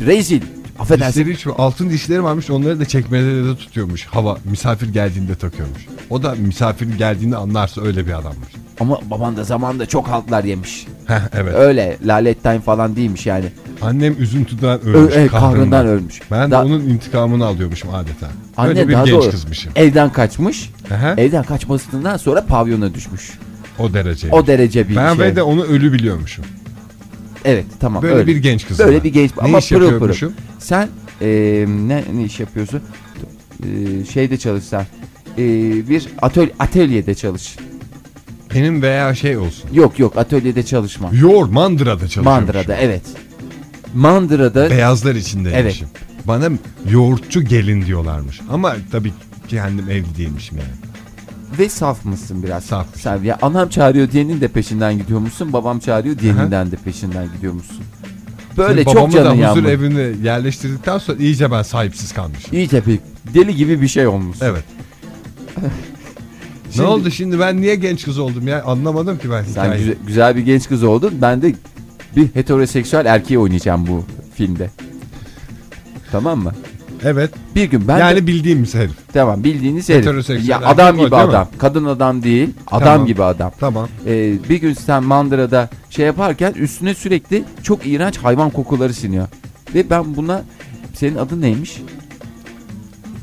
Speaker 1: rezil. Affedersin.
Speaker 2: Dişleri hiç altın dişleri varmış onları da çekmeleri de tutuyormuş. Hava misafir geldiğinde takıyormuş. O da misafir geldiğini anlarsa öyle bir adammış.
Speaker 1: Ama baban da zamanında çok haltlar yemiş.
Speaker 2: Heh, evet.
Speaker 1: Öyle Lalet Time falan değilmiş yani.
Speaker 2: Annem üzüntüden
Speaker 1: Ö-
Speaker 2: ölmüş.
Speaker 1: evet,
Speaker 2: kahrından.
Speaker 1: kahrından ölmüş.
Speaker 2: Ben de
Speaker 1: Da-
Speaker 2: onun intikamını alıyormuşum adeta.
Speaker 1: Anne
Speaker 2: Öyle bir
Speaker 1: daha
Speaker 2: genç
Speaker 1: doğru. E-
Speaker 2: kızmışım.
Speaker 1: Evden kaçmış.
Speaker 2: Aha.
Speaker 1: Evden kaçmasından sonra pavyona düşmüş.
Speaker 2: O derece.
Speaker 1: O derece bir
Speaker 2: ben
Speaker 1: şey.
Speaker 2: ve de onu ölü biliyormuşum.
Speaker 1: Evet tamam.
Speaker 2: Böyle
Speaker 1: öyle.
Speaker 2: bir genç kızım.
Speaker 1: Böyle
Speaker 2: ben.
Speaker 1: bir genç
Speaker 2: Ne
Speaker 1: ama
Speaker 2: iş
Speaker 1: pırıl pırıl.
Speaker 2: yapıyormuşum?
Speaker 1: Sen eee, ne, ne iş yapıyorsun? Eee, şeyde çalışsan. Eee, bir atöl atölyede çalış.
Speaker 2: Benim veya şey olsun.
Speaker 1: Yok yok atölyede çalışma.
Speaker 2: Yor Mandıra'da çalışıyormuşum.
Speaker 1: Mandıra'da evet. Mandıra'da
Speaker 2: Beyazlar içindeymişim. Bana yoğurtçu gelin diyorlarmış. Ama tabii kendim evli değilmişim yani.
Speaker 1: ve saf mısın biraz?
Speaker 2: Saf.
Speaker 1: Sen ya anam çağırıyor diyenin de peşinden gidiyor musun? Babam çağırıyor diyeninden de peşinden gidiyor musun? Böyle
Speaker 2: Şimdi
Speaker 1: çok
Speaker 2: babamı
Speaker 1: canın
Speaker 2: da huzur
Speaker 1: yanmış.
Speaker 2: evine yerleştirdikten sonra iyice ben sahipsiz kalmışım.
Speaker 1: İyice bir deli gibi bir şey olmuş.
Speaker 2: Evet.
Speaker 1: Şimdi-
Speaker 2: ne oldu şimdi ben niye genç kız oldum ya anlamadım ki ben
Speaker 1: Sen
Speaker 2: hikayeyi.
Speaker 1: güze- güzel bir genç kız oldun. Ben de bir heteroseksüel erkeği oynayacağım bu filmde. tamam mı?
Speaker 2: Evet
Speaker 1: Bir gün ben
Speaker 2: yani
Speaker 1: de,
Speaker 2: bildiğimiz herif.
Speaker 1: tamam bildiğiniz herif.
Speaker 2: Heteroseksüel
Speaker 1: Ya
Speaker 2: erkek
Speaker 1: adam
Speaker 2: o,
Speaker 1: gibi
Speaker 2: değil mi?
Speaker 1: adam. Kadın adam değil. Adam
Speaker 2: Tamam.
Speaker 1: gibi adam.
Speaker 2: Tamam.
Speaker 1: Ee, bir gün sen mandırada şey yaparken üstüne sürekli çok iğrenç hayvan kokuları siniyor. Ve ben buna senin adın neymiş?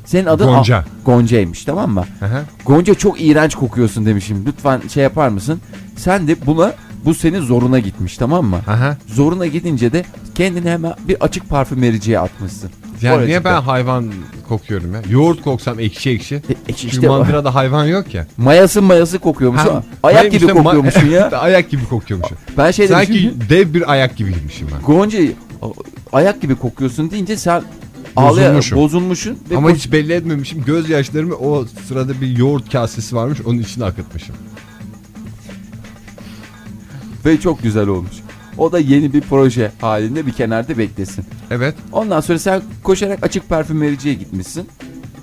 Speaker 1: Senin adın
Speaker 2: Gonca.
Speaker 1: Ah, Gonca'ymış tamam mı?
Speaker 2: Aha.
Speaker 1: Gonca çok iğrenç kokuyorsun demişim. Lütfen şey yapar mısın? Sen de buna bu senin zoruna gitmiş tamam mı?
Speaker 2: Aha.
Speaker 1: Zoruna gidince de kendini hemen bir açık parfümericiye atmışsın.
Speaker 2: Yani niye
Speaker 1: Oracıkta.
Speaker 2: ben hayvan kokuyorum ya? Yoğurt koksam ekşi ekşi.
Speaker 1: E, e,
Speaker 2: Çünkü
Speaker 1: işte
Speaker 2: mandırada hayvan yok ya.
Speaker 1: mayası mayası kokuyormuşsun.
Speaker 2: Ha,
Speaker 1: ayak
Speaker 2: hayır
Speaker 1: gibi
Speaker 2: işte ma-
Speaker 1: kokuyormuşsun ya.
Speaker 2: [LAUGHS] ayak gibi kokuyormuşum.
Speaker 1: Ben şey demişim.
Speaker 2: Sanki dev bir ayak gibiymişim ben.
Speaker 1: Gonca a- ayak gibi kokuyorsun deyince sen ağlayarak
Speaker 2: Bozulmuşum.
Speaker 1: bozulmuşsun. Ve
Speaker 2: Ama
Speaker 1: bu-
Speaker 2: hiç belli etmemişim. Gözyaşlarımı o sırada bir yoğurt kasesi varmış onun içine akıtmışım.
Speaker 1: Ve çok güzel olmuş. O da yeni bir proje halinde bir kenarda beklesin.
Speaker 2: Evet.
Speaker 1: Ondan sonra sen koşarak açık parfümericiye gitmişsin.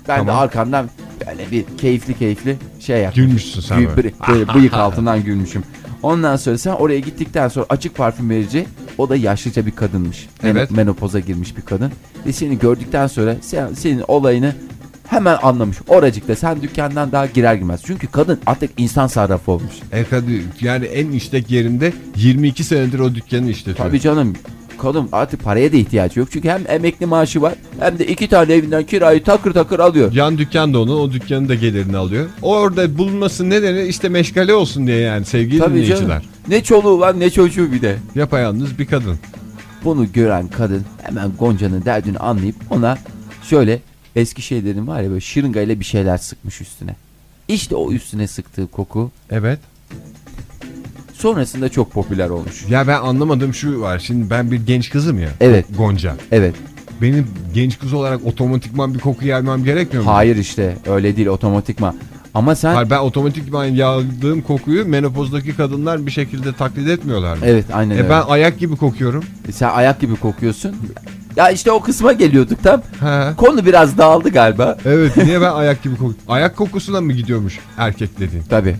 Speaker 1: Ben de
Speaker 2: Tamam.
Speaker 1: arkandan böyle bir keyifli keyifli şey yaptım.
Speaker 2: Gülmüşsün sen
Speaker 1: Gü-
Speaker 2: böyle.
Speaker 1: böyle
Speaker 2: [LAUGHS]
Speaker 1: bıyık altından gülmüşüm. Ondan sonra sen oraya gittikten sonra açık parfümerici o da yaşlıca bir kadınmış. Men-
Speaker 2: Evet.
Speaker 1: Menopoza girmiş bir kadın. Ve seni gördükten sonra sen, senin olayını hemen anlamış. Oracıkta sen dükkandan daha girer girmez. Çünkü kadın artık insan sarrafı olmuş.
Speaker 2: En kadı- yani en işlek yerinde 22 senedir o dükkanı işletiyor.
Speaker 1: Tabii canım. Kadın artık paraya da ihtiyacı yok. Çünkü hem emekli maaşı var hem de iki tane evinden kirayı takır takır alıyor.
Speaker 2: Yan dükkan da onun, o dükkanın da gelirini alıyor. Orada bulunması nedeni işte meşgale olsun diye yani sevgili
Speaker 1: Tabii canım.
Speaker 2: dinleyiciler.
Speaker 1: Ne çoluğu var ne çocuğu bir de.
Speaker 2: Yapayalnız bir kadın.
Speaker 1: Bunu gören kadın hemen Gonca'nın derdini anlayıp ona şöyle eski şeylerin var ya böyle şırıngayla bir şeyler sıkmış üstüne. İşte o üstüne sıktığı koku
Speaker 2: Evet.
Speaker 1: sonrasında çok popüler olmuş.
Speaker 2: Ya ben anlamadığım şu var. Şimdi ben bir genç kızım ya.
Speaker 1: Evet.
Speaker 2: Gonca.
Speaker 1: Evet.
Speaker 2: Benim genç kız olarak otomatikman bir koku yayılmam gerekmiyor mu?
Speaker 1: Hayır işte öyle değil otomatikman. Ama sen
Speaker 2: Hayır ben otomatikman yağdığım kokuyu menopozdaki kadınlar bir şekilde taklit etmiyorlar mı?
Speaker 1: evet aynen
Speaker 2: E
Speaker 1: öyle.
Speaker 2: ben ayak gibi kokuyorum.
Speaker 1: Sen ayak gibi kokuyorsun. Ya işte o kısma geliyorduk tam.
Speaker 2: He.
Speaker 1: Konu biraz dağıldı galiba.
Speaker 2: Evet niye ben ayak gibi kokuyorum? Ayak kokusuna mı gidiyormuş erkek dediğin?
Speaker 1: Tabii.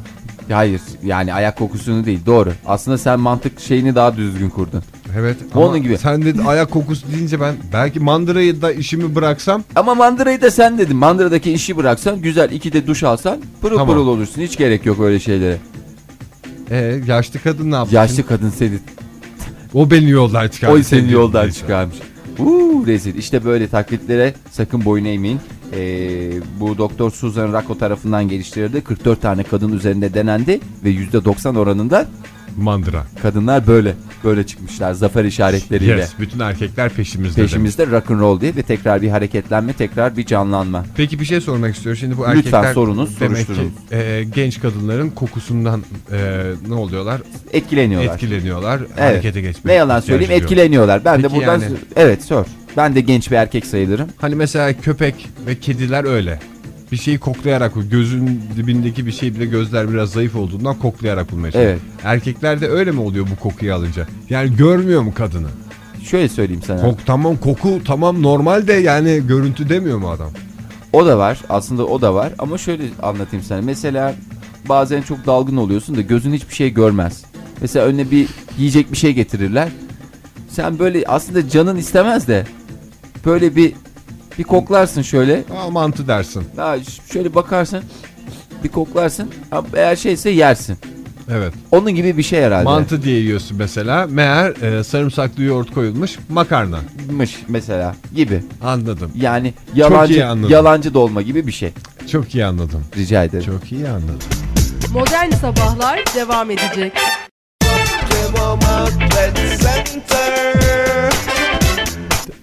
Speaker 1: Hayır yani ayak kokusunu değil doğru. Aslında sen mantık şeyini daha düzgün kurdun.
Speaker 2: Evet.
Speaker 1: Onun
Speaker 2: ama
Speaker 1: gibi.
Speaker 2: Sen de ayak kokusu deyince ben belki mandırayı da işimi bıraksam
Speaker 1: Ama mandırayı da sen dedin. Mandıradaki işi bıraksan güzel iki de duş alsan pırıl
Speaker 2: Tamam.
Speaker 1: pırıl olursun. Hiç gerek yok öyle şeylere.
Speaker 2: e, yaşlı kadın ne yapsın?
Speaker 1: Yaşlı kadın seni
Speaker 2: O beni yoldan çıkar.
Speaker 1: oy seni yoldan çıkarmış. Uuu rezil. İşte böyle taklitlere sakın boyun eğmeyin. Ee, bu Doktor Susan Rocco tarafından geliştirildi. 44 tane kadın üzerinde denendi ve %90 oranında
Speaker 2: Mandıra.
Speaker 1: kadınlar böyle böyle çıkmışlar zafer işaretleriyle.
Speaker 2: Yes, bütün erkekler peşimizde. demek.
Speaker 1: Peşimizde rock and roll diye ve tekrar bir hareketlenme, tekrar bir canlanma.
Speaker 2: Peki bir şey sormak istiyorum. Şimdi bu
Speaker 1: Lütfen
Speaker 2: erkekler
Speaker 1: sorunuz,
Speaker 2: demek ki
Speaker 1: soruşturunuz.
Speaker 2: e, genç kadınların kokusundan e, ne oluyorlar?
Speaker 1: Etkileniyorlar.
Speaker 2: Etkileniyorlar. Harekete geçmek.
Speaker 1: Ne yalan söyleyeyim
Speaker 2: ihtiyacı duyuyor.
Speaker 1: etkileniyorlar. Ben de
Speaker 2: Peki
Speaker 1: buradan
Speaker 2: yani-
Speaker 1: evet sor. Ben de genç bir erkek sayılırım.
Speaker 2: Hani mesela köpek ve kediler öyle. Bir şeyi koklayarak gözün dibindeki bir şey bile gözler biraz zayıf olduğundan koklayarak bulmaya çalışıyor.
Speaker 1: Evet.
Speaker 2: Erkekler de öyle mi oluyor bu kokuyu alınca? Yani görmüyor mu kadını?
Speaker 1: Şöyle söyleyeyim sana.
Speaker 2: Kok tamam koku tamam normal de yani görüntü demiyor mu adam?
Speaker 1: O da var. Aslında o da var ama şöyle anlatayım sana. Mesela bazen çok dalgın oluyorsun da gözün hiçbir şey görmez. Mesela önüne bir yiyecek bir şey getirirler. Sen böyle aslında canın istemez de böyle bir bir koklarsın şöyle.
Speaker 2: Aa mantı dersin.
Speaker 1: Ha, ş- şöyle bakarsın. Bir koklarsın. Ha, Eğer şeyse yersin.
Speaker 2: Evet.
Speaker 1: Onun gibi bir şey herhalde.
Speaker 2: Mantı diye yiyorsun mesela. Meğer e, sarımsaklı yoğurt koyulmuş makarna.
Speaker 1: Mış mesela gibi.
Speaker 2: Anladım.
Speaker 1: Yani
Speaker 2: iyi
Speaker 1: yalancı
Speaker 2: anladım.
Speaker 1: yalancı dolma gibi bir şey.
Speaker 2: Çok iyi anladım.
Speaker 1: Rica ederim.
Speaker 2: Çok iyi anladım.
Speaker 3: Modern Sabahlar devam edecek.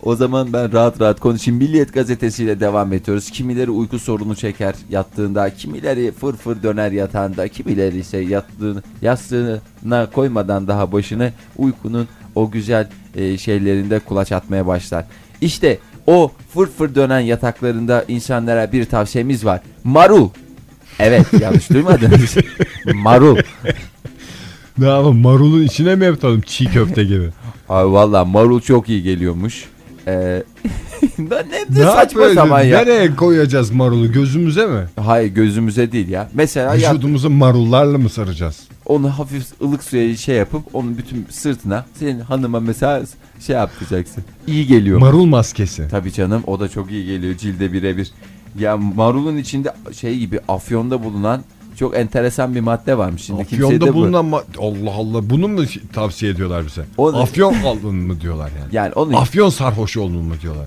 Speaker 1: O zaman ben rahat rahat konuşayım. Milliyet gazetesiyle devam ediyoruz. Kimileri uyku sorunu çeker yattığında, kimileri fırfır döner yatağında, kimileri ise yattığını, yastığına koymadan daha başını uykunun o güzel e, şeylerinde kulaç atmaya başlar. İşte o fırfır dönen yataklarında insanlara bir tavsiyemiz var. Marul. Evet yanlış
Speaker 2: [LAUGHS]
Speaker 1: duymadınız. Marul.
Speaker 2: Ne yapalım marulun içine mi yapalım çiğ köfte gibi?
Speaker 1: Abi valla marul çok iyi geliyormuş. Ee, [LAUGHS] ben ne,
Speaker 2: ne
Speaker 1: de saçma
Speaker 2: yapıyoruz?
Speaker 1: sapan ya.
Speaker 2: Nereye koyacağız marulu gözümüze mi?
Speaker 1: Hayır gözümüze değil ya. Mesela ya,
Speaker 2: Vücudumuzu marullarla mı saracağız?
Speaker 1: onu hafif ılık suya şey yapıp onun bütün sırtına senin hanıma mesela şey yapacaksın. İyi geliyor.
Speaker 2: Marul maskesi.
Speaker 1: Tabii canım o da çok iyi geliyor cilde birebir. Ya marulun içinde şey gibi afyonda bulunan çok enteresan bir madde varmış. Şimdi kimseye de
Speaker 2: Afyon'da
Speaker 1: bu-
Speaker 2: bulunan ma- Allah Allah bunu mu tavsiye ediyorlar bize?
Speaker 1: O da-
Speaker 2: Afyon alın mı diyorlar yani.
Speaker 1: Yani onu
Speaker 2: Afyon sarhoş olun mu diyorlar.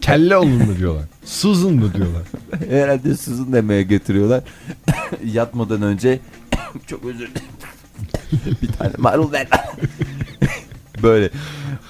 Speaker 2: Kelle olun mu diyorlar. Sızın
Speaker 1: [LAUGHS]
Speaker 2: mı diyorlar.
Speaker 1: herhalde sızın demeye getiriyorlar. [COUGHS] Yatmadan önce [COUGHS] çok özür dilerim. [COUGHS] bir tane marul ver. [COUGHS] Böyle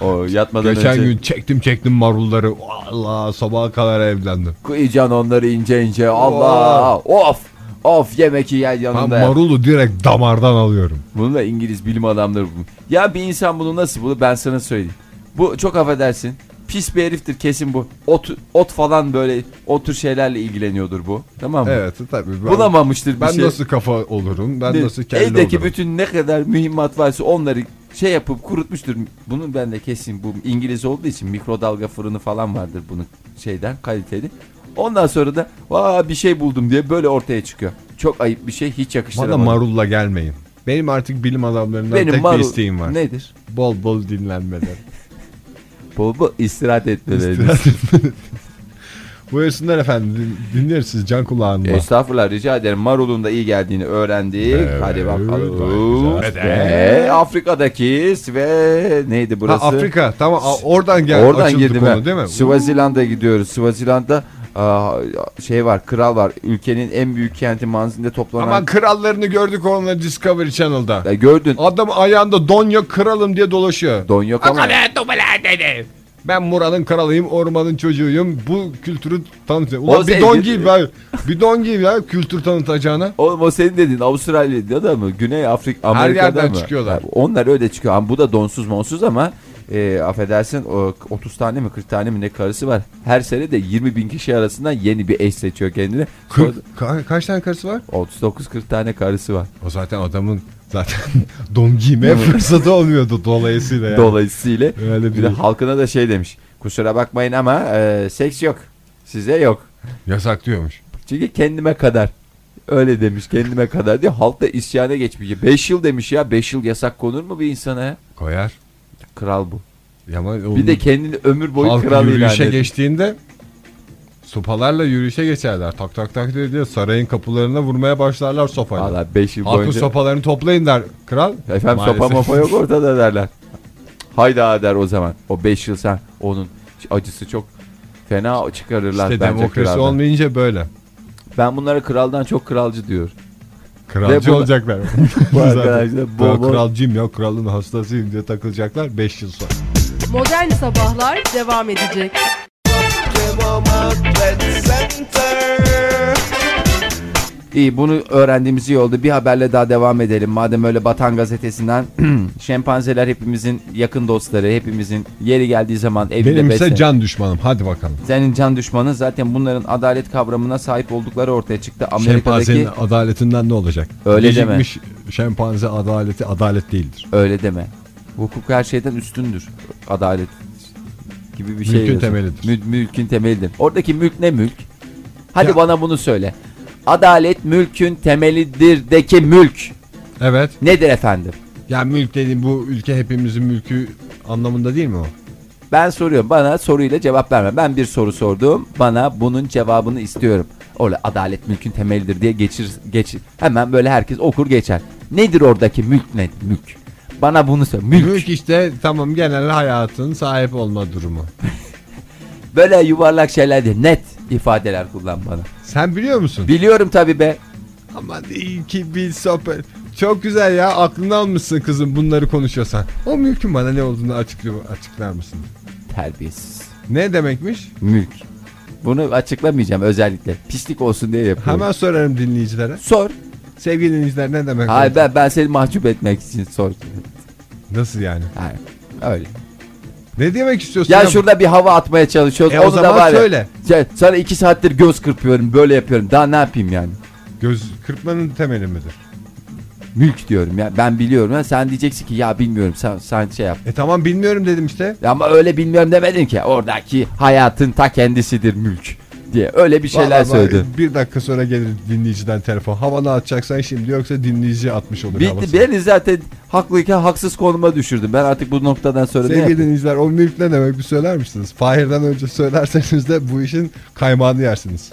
Speaker 1: o yatmadan
Speaker 2: Geçen
Speaker 1: önce
Speaker 2: gün çektim çektim marulları. Allah sabaha kadar evlendim.
Speaker 1: kıyacaksın onları ince ince. Allah
Speaker 2: Oh.
Speaker 1: of of yemek yiyen
Speaker 2: Ben
Speaker 1: yanında. yat.
Speaker 2: marulu direkt damardan alıyorum.
Speaker 1: Bunu da İngiliz bilim adamları bulmuş. Ya bir insan bunu nasıl bulur ben sana söyleyeyim. Bu çok affedersin Pis bir heriftir kesin bu. Ot, ot falan böyle o tür şeylerle ilgileniyordur bu. Tamam mı?
Speaker 2: Evet tabii. Ben,
Speaker 1: Bulamamıştır bir
Speaker 2: ben
Speaker 1: şey.
Speaker 2: nasıl kafa olurum? Ben
Speaker 1: Ne-
Speaker 2: nasıl kelle
Speaker 1: Eldeki
Speaker 2: olurum?
Speaker 1: bütün ne kadar mühimmat varsa onları şey yapıp kurutmuştur. Bunun ben de kesin bu İngiliz olduğu için mikrodalga fırını falan vardır bunun şeyden kaliteli. Ondan sonra da vaa bir şey buldum diye böyle ortaya çıkıyor. Çok ayıp bir şey hiç
Speaker 2: Bana
Speaker 1: yakıştıramadım.
Speaker 2: marulla gelmeyin. Benim artık bilim adamlarından tek
Speaker 1: marul-
Speaker 2: bir isteğim var.
Speaker 1: Nedir?
Speaker 2: Bol bol
Speaker 1: [LAUGHS]
Speaker 2: dinlenmeler.
Speaker 1: Bol bol istirahat etmeleri.
Speaker 2: [LAUGHS] Buyursunlar efendim. Din- Dinliyoruz siz can kulağında.
Speaker 1: [LAUGHS] Estağfurullah rica ederim. Marul'un da iyi geldiğini öğrendik.
Speaker 2: Evet,
Speaker 1: Hadi bakalım.
Speaker 2: gayet güzel.
Speaker 1: Ve Afrika'daki ve neydi
Speaker 2: Ha,
Speaker 1: burası?
Speaker 2: Afrika tamam a- oradan gel
Speaker 1: Oradan
Speaker 2: açıldı
Speaker 1: girdim
Speaker 2: konu
Speaker 1: ben.
Speaker 2: değil mi?
Speaker 1: Swaziland'a gidiyoruz. Swaziland'da aa, şey var, kral var. Ülkenin en büyük kenti Manzin'de toplanan.
Speaker 2: Ama krallarını gördük onunla Discovery Channel'da.
Speaker 1: Ya gördün.
Speaker 2: Adam ayağında donya kralım diye dolaşıyor.
Speaker 1: Don yok ama.
Speaker 2: Ben Murat'ın kralıyım, ormanın çocuğuyum. Bu kültürü tanıtacağım. Ulan
Speaker 1: O
Speaker 2: bir
Speaker 1: senin-
Speaker 2: don giy ben. Bir don giy ya kültür tanıtacağına.
Speaker 1: Oğlum o senin dediğin Avustralya'da da mı? Güney Afrika, Amerika'da
Speaker 2: yerden
Speaker 1: mı?
Speaker 2: çıkıyorlar.
Speaker 1: Ya onlar öyle çıkıyor. Ama bu da donsuz monsuz ama e, affedersin o 30 tane mi 40 tane mi ne karısı var. Her sene de 20 bin kişi arasından yeni bir eş seçiyor kendine.
Speaker 2: Kırk- ka- kaç tane karısı var?
Speaker 1: 39-40 tane karısı var.
Speaker 2: O zaten adamın zaten [LAUGHS] don giymeye fırsatı olmuyordu dolayısıyla yani.
Speaker 1: Dolayısıyla
Speaker 2: Öyle
Speaker 1: bir de
Speaker 2: bir-
Speaker 1: halkına da şey demiş. Kusura bakmayın ama e, seks yok. Size yok.
Speaker 2: Yasak diyormuş.
Speaker 1: Çünkü kendime kadar. Öyle demiş kendime kadar diye halk da isyana geçmiş. 5 yıl demiş ya 5 yıl yasak konur mu bir insana ya?
Speaker 2: Koyar.
Speaker 1: Kral bu.
Speaker 2: Ya Ama
Speaker 1: Bir de kendini ömür boyu
Speaker 2: halk
Speaker 1: kral ilan
Speaker 2: yürüyüşe
Speaker 1: etti.
Speaker 2: geçtiğinde sopalarla yürüyüşe geçerler. Tak tak tak diye, diye sarayın kapılarına vurmaya başlarlar sopayla.
Speaker 1: Valla 5 yıl
Speaker 2: Halkın
Speaker 1: boyunca.
Speaker 2: sopalarını toplayın der kral.
Speaker 1: Efendim sopa
Speaker 2: Maalesef.
Speaker 1: mopa yok ortada derler. Hayda der o zaman. O 5 yıl sen onun acısı çok fena çıkarırlar
Speaker 2: İşte
Speaker 1: bence
Speaker 2: demokrasi
Speaker 1: kraldan.
Speaker 2: olmayınca böyle.
Speaker 1: Ben bunlara kraldan çok kralcı diyor.
Speaker 2: Kralcı
Speaker 1: Ve bu-
Speaker 2: olacaklar.
Speaker 1: [LAUGHS]
Speaker 2: [LAUGHS]
Speaker 1: Bu
Speaker 2: Zaten.
Speaker 1: arkadaşlar bol
Speaker 2: Ben
Speaker 1: bol-
Speaker 2: kralcıyım ya kralın hastasıyım diye takılacaklar 5 yıl sonra.
Speaker 3: Modern Sabahlar devam edecek.
Speaker 1: İyi bunu öğrendiğimiz iyi oldu. Bir haberle daha devam edelim. Madem öyle Batan gazetesinden [CLEARS THROAT] şempanzeler hepimizin yakın dostları, hepimizin yeri geldiği zaman evinde
Speaker 2: Benimse
Speaker 1: beslen-
Speaker 2: can düşmanım hadi bakalım.
Speaker 1: Senin can düşmanı zaten bunların adalet kavramına sahip oldukları ortaya çıktı. Amerika'daki
Speaker 2: Şempanzenin adaletinden ne olacak?
Speaker 1: Öyle
Speaker 2: Gecikmiş Şempanze adaleti adalet değildir.
Speaker 1: öyle deme. Hukuk her şeyden üstündür. Adalet gibi bir şey.
Speaker 2: Mülkün
Speaker 1: yazıyor.
Speaker 2: temelidir.
Speaker 1: Mül- mülkün temelidir. Oradaki mülk ne mülk? Hadi
Speaker 2: Ya-
Speaker 1: bana bunu söyle. Adalet mülkün temelidir deki mülk
Speaker 2: Evet.
Speaker 1: nedir efendim?
Speaker 2: Ya mülk dediğim bu ülke hepimizin mülkü anlamında değil mi o?
Speaker 1: Ben soruyorum. Bana soruyla cevap verme. Ben bir soru sordum. Bana bunun cevabını istiyorum. Öyle adalet mülkün temelidir diye geçir, geçir. Hemen böyle herkes okur geçer. Nedir oradaki mülk nedir? Mülk. Bana bunu söyle. Mülk.
Speaker 2: Mülk işte tamam genel hayatın sahip olma durumu.
Speaker 1: Böyle yuvarlak şeyler değil. Net ifadeler kullan bana.
Speaker 2: Sen biliyor musun?
Speaker 1: Biliyorum tabii be.
Speaker 2: Aman iyi ki bir sohbet. Çok güzel ya aklını almışsın kızım bunları konuşuyorsan. O mülkün bana ne olduğunu açıklıyor, açıklar mısın?
Speaker 1: Terbiyesiz.
Speaker 2: Ne demekmiş?
Speaker 1: Mülk. Bunu açıklamayacağım özellikle. Pislik olsun diye yapıyorum.
Speaker 2: Hemen sorarım dinleyicilere. [LAUGHS]
Speaker 1: Sor.
Speaker 2: Sevgili dinleyiciler ne demek?
Speaker 1: Hayır ben, ben seni mahcup etmek için sor.
Speaker 2: Nasıl yani?
Speaker 1: Hayır. Öyle.
Speaker 2: Ne demek istiyorsun?
Speaker 1: Ya
Speaker 2: ya?
Speaker 1: şurada bir hava atmaya çalışıyoruz.
Speaker 2: E, o
Speaker 1: Onu da
Speaker 2: zaman
Speaker 1: var ya-
Speaker 2: söyle.
Speaker 1: Ya sana iki saattir göz kırpıyorum böyle yapıyorum. Daha ne yapayım yani?
Speaker 2: Göz kırpmanın temeli midir?
Speaker 1: Mülk diyorum ya. Ben biliyorum ya. Sen diyeceksin ki ya bilmiyorum. Sen, sen şey yap.
Speaker 2: E tamam bilmiyorum dedim işte.
Speaker 1: Ya Ama öyle bilmiyorum demedin ki. Oradaki hayatın ta kendisidir mülk diye. Öyle bir şeyler
Speaker 2: Vallahi bak,
Speaker 1: söyledin.
Speaker 2: Bir dakika sonra gelir dinleyiciden telefon. Havanı atacaksan şimdi yoksa dinleyici atmış olur havasını.
Speaker 1: Bitti. Beni zaten haklıyken haksız konuma düşürdüm. Ben artık bu noktadan sonra ne
Speaker 2: Sevgili
Speaker 1: yapayım?
Speaker 2: dinleyiciler o mülk ne demek bir söyler misiniz? Fahir'den önce söylerseniz de bu işin kaymağını yersiniz.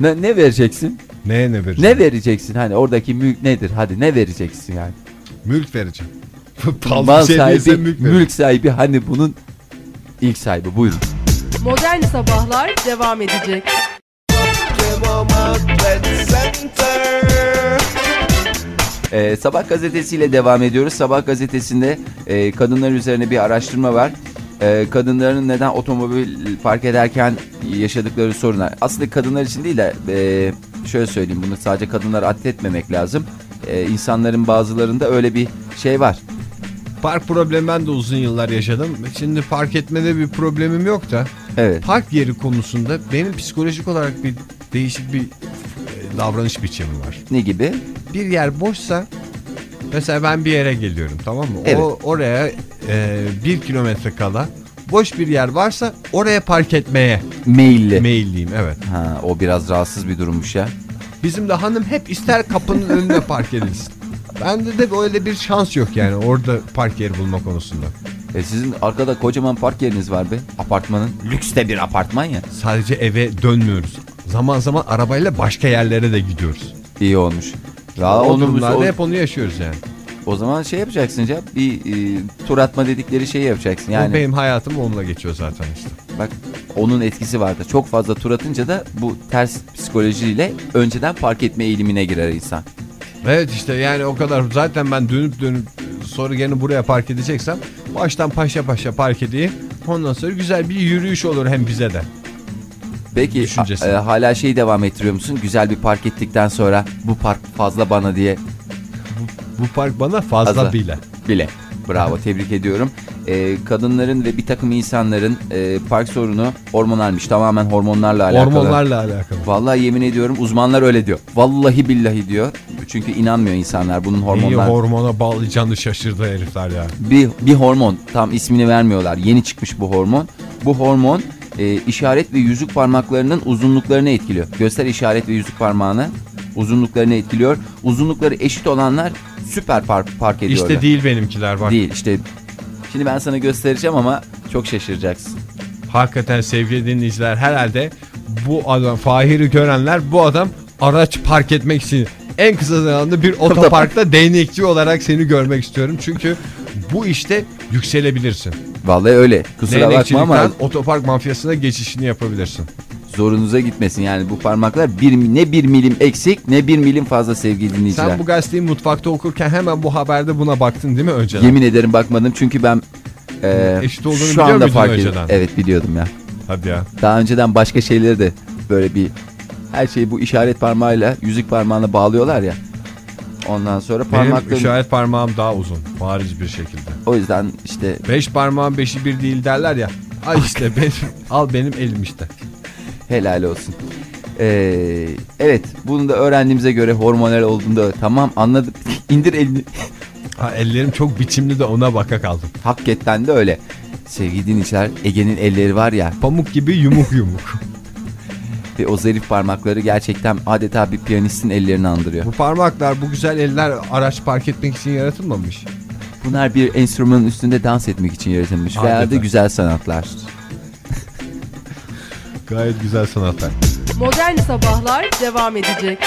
Speaker 1: Ne, ne vereceksin?
Speaker 2: Neye ne vereceğim?
Speaker 1: Ne vereceksin? Hani oradaki mülk nedir? Hadi ne vereceksin yani?
Speaker 2: Mülk vereceğim. [LAUGHS]
Speaker 1: Mal
Speaker 2: Pahalı bir şey değilse
Speaker 1: sahibi,
Speaker 2: mülk, vereceğim.
Speaker 1: mülk sahibi hani bunun ilk sahibi. Buyurun.
Speaker 3: Modern Sabahlar devam edecek.
Speaker 1: Ee, Sabah gazetesiyle devam ediyoruz. Sabah gazetesinde e, kadınlar üzerine bir araştırma var. Ee, kadınların neden otomobil park ederken yaşadıkları sorunlar. Aslında kadınlar için değil de e, şöyle söyleyeyim bunu sadece kadınlar atletmemek lazım. E, insanların bazılarında öyle bir şey var.
Speaker 2: Park problemi ben de uzun yıllar yaşadım. Şimdi park etmede bir problemim yok da
Speaker 1: Evet.
Speaker 2: park yeri konusunda benim psikolojik olarak bir değişik bir e, davranış biçimi var.
Speaker 1: Ne gibi?
Speaker 2: Bir yer boşsa mesela ben bir yere geliyorum tamam mı?
Speaker 1: Evet.
Speaker 2: O oraya e, bir kilometre kala boş bir yer varsa oraya park etmeye
Speaker 1: Meyilli.
Speaker 2: meyilliyim evet.
Speaker 1: ha, o biraz rahatsız bir durummuş ya.
Speaker 2: Bizim de hanım hep ister kapının önüne park edilsin. Bende de böyle bir şans yok yani orada park yeri bulma konusunda.
Speaker 1: E sizin arkada kocaman park yeriniz var be. Apartmanın. Lüks de bir apartman ya.
Speaker 2: Sadece eve dönmüyoruz. Zaman zaman arabayla başka yerlere de gidiyoruz.
Speaker 1: İyi olmuş. Ya
Speaker 2: Aa, o
Speaker 1: onurumuz-
Speaker 2: durumlarda
Speaker 1: o-
Speaker 2: hep onu yaşıyoruz yani.
Speaker 1: O zaman şey yapacaksın ya bir e, tur atma dedikleri şeyi yapacaksın.
Speaker 2: Yani.
Speaker 1: Yani
Speaker 2: benim hayatım onunla geçiyor zaten işte.
Speaker 1: bak onun etkisi vardı. Çok fazla tur atınca da bu ters psikolojiyle önceden park etme eğilimine girer insan.
Speaker 2: Evet işte yani o kadar zaten ben dönüp dönüp sonra gene buraya park edeceksem baştan paşa paşa park edeyim. Ondan sonra güzel bir yürüyüş olur hem bize de.
Speaker 1: Peki
Speaker 2: Düşüncesi.
Speaker 1: a- e, hala şeyi devam ettiriyor musun? Güzel bir park ettikten sonra bu park fazla bana diye
Speaker 2: Bu park bana fazla
Speaker 1: Fazla.
Speaker 2: bile.
Speaker 1: bile. Bravo tebrik ediyorum. E, kadınların ve bir takım insanların e, park sorunu hormonalmiş. Tamamen hormonlarla alakalı.
Speaker 2: Hormonlarla alakalı.
Speaker 1: Vallahi yemin ediyorum uzmanlar öyle diyor. Vallahi billahi diyor. Çünkü inanmıyor insanlar bunun
Speaker 2: Neyi
Speaker 1: hormonlar.
Speaker 2: hormona bağlayacağını şaşırdı herifler ya.
Speaker 1: bir, bir hormon tam ismini vermiyorlar yeni çıkmış bu hormon. Bu hormon e, işaret ve yüzük parmaklarının uzunluklarını etkiliyor. Göster işaret ve yüzük parmağını uzunluklarını etkiliyor. Uzunlukları eşit olanlar süper park, park ediyorlar.
Speaker 2: İşte değil benimkiler bak.
Speaker 1: E, Değil işte. Şimdi ben sana göstereceğim ama çok şaşıracaksın.
Speaker 2: Hakikaten sevgili dinleyiciler herhalde bu adam Fahir'i görenler bu adam araç park etmek için en kısa zamanda bir otoparkta değnekçi olarak seni görmek istiyorum. Çünkü bu işte yükselebilirsin.
Speaker 1: Vallahi öyle. Kusura bakma ama
Speaker 2: Değnekçilikten otopark mafyasına geçişini yapabilirsin.
Speaker 1: zorunuza gitmesin. Yani bu parmaklar bir, ne bir milim eksik ne bir milim fazla sevgili dinleyiciler.
Speaker 2: Sen bu gazeteyi mutfakta okurken hemen bu haberde buna baktın değil mi önceden?
Speaker 1: Yemin ederim bakmadım çünkü ben e,
Speaker 2: Eşit olduğunu
Speaker 1: şu
Speaker 2: biliyor
Speaker 1: anda
Speaker 2: muydun
Speaker 1: fark ediyorum.
Speaker 2: önceden?
Speaker 1: Evet biliyordum ya.
Speaker 2: Hadi ya.
Speaker 1: Daha önceden başka şeyleri de böyle bir her şeyi bu işaret parmağıyla yüzük parmağına bağlıyorlar ya. Ondan sonra
Speaker 2: Benim
Speaker 1: parmaklarım
Speaker 2: işaret parmağım daha uzun. Bariz bir şekilde.
Speaker 1: o yüzden işte
Speaker 2: Beş parmağın beşi bir değil derler ya. Al işte benim, al benim elim işte.
Speaker 1: helal olsun. Ee, evet bunu da öğrendiğimize göre hormonal olduğunda tamam anladım. [LAUGHS] İndir elini.
Speaker 2: Ha, ellerim çok biçimli de ona baka kaldım.
Speaker 1: Hakikaten de öyle. Sevgili dinleyiciler Ege'nin elleri var ya
Speaker 2: Pamuk gibi yumuk yumuk.
Speaker 1: ve o zarif parmakları gerçekten adeta bir piyanistin ellerini andırıyor.
Speaker 2: bu parmaklar, bu güzel eller araç park etmek için yaratılmamış.
Speaker 1: Bunlar bir enstrümanın üstünde dans etmek için yaratılmış veya da
Speaker 2: Adeta.
Speaker 1: güzel sanatlar.
Speaker 2: Gayet güzel sanatlar.
Speaker 3: Modern Sabahlar devam edecek.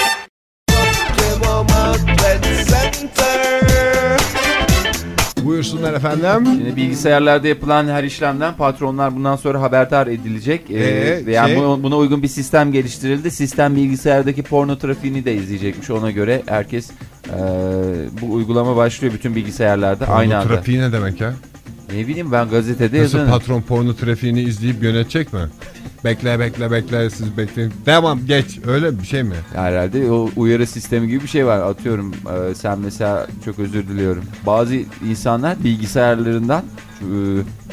Speaker 2: Buyursunlar efendim.
Speaker 1: Şimdi bilgisayarlarda yapılan her işlemden patronlar bundan sonra haberdar edilecek. Ee,
Speaker 2: Ee,
Speaker 1: veya
Speaker 2: şey-
Speaker 1: bu- buna uygun bir sistem geliştirildi. Sistem bilgisayardaki porno trafiğini de izleyecekmiş. Ona göre herkes ee, bu uygulama başlıyor bütün bilgisayarlarda aynı
Speaker 2: porno
Speaker 1: anda.
Speaker 2: trafiği ne demek ya?
Speaker 1: Ne bileyim ben gazetede
Speaker 2: Nasıl
Speaker 1: yazıyorum.
Speaker 2: patron porno trafiğini izleyip yönetecek mi? Bekle bekle bekle siz bekleyin. Tamam geç öyle bir şey mi?
Speaker 1: Herhalde o uyarı sistemi gibi bir şey var. Atıyorum e, sen mesela çok özür diliyorum. Bazı insanlar bilgisayarlarından e,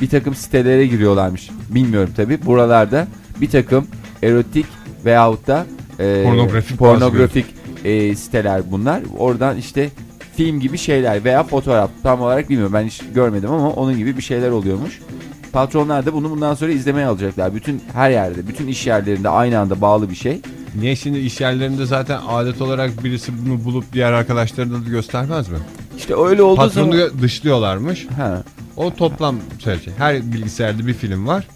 Speaker 1: bir takım sitelere giriyorlarmış. Bilmiyorum tabi. Buralarda bir takım erotik veyahut da e,
Speaker 2: Pornografik
Speaker 1: pornografik e, siteler bunlar. Oradan işte film gibi şeyler veya fotoğraf tam olarak bilmiyorum. Ben hiç görmedim ama onun gibi bir şeyler oluyormuş. Patronlar da bunu bundan sonra izlemeye alacaklar. Bütün her yerde, bütün iş yerlerinde aynı anda bağlı bir şey.
Speaker 2: Niye şimdi iş yerlerinde zaten adet olarak birisi bunu bulup diğer arkadaşlarına da göstermez mi?
Speaker 1: İşte öyle olduğu
Speaker 2: Patronu
Speaker 1: zaman...
Speaker 2: dışlıyorlarmış.
Speaker 1: Ha.
Speaker 2: O toplam şey. Her bilgisayarda bir film var.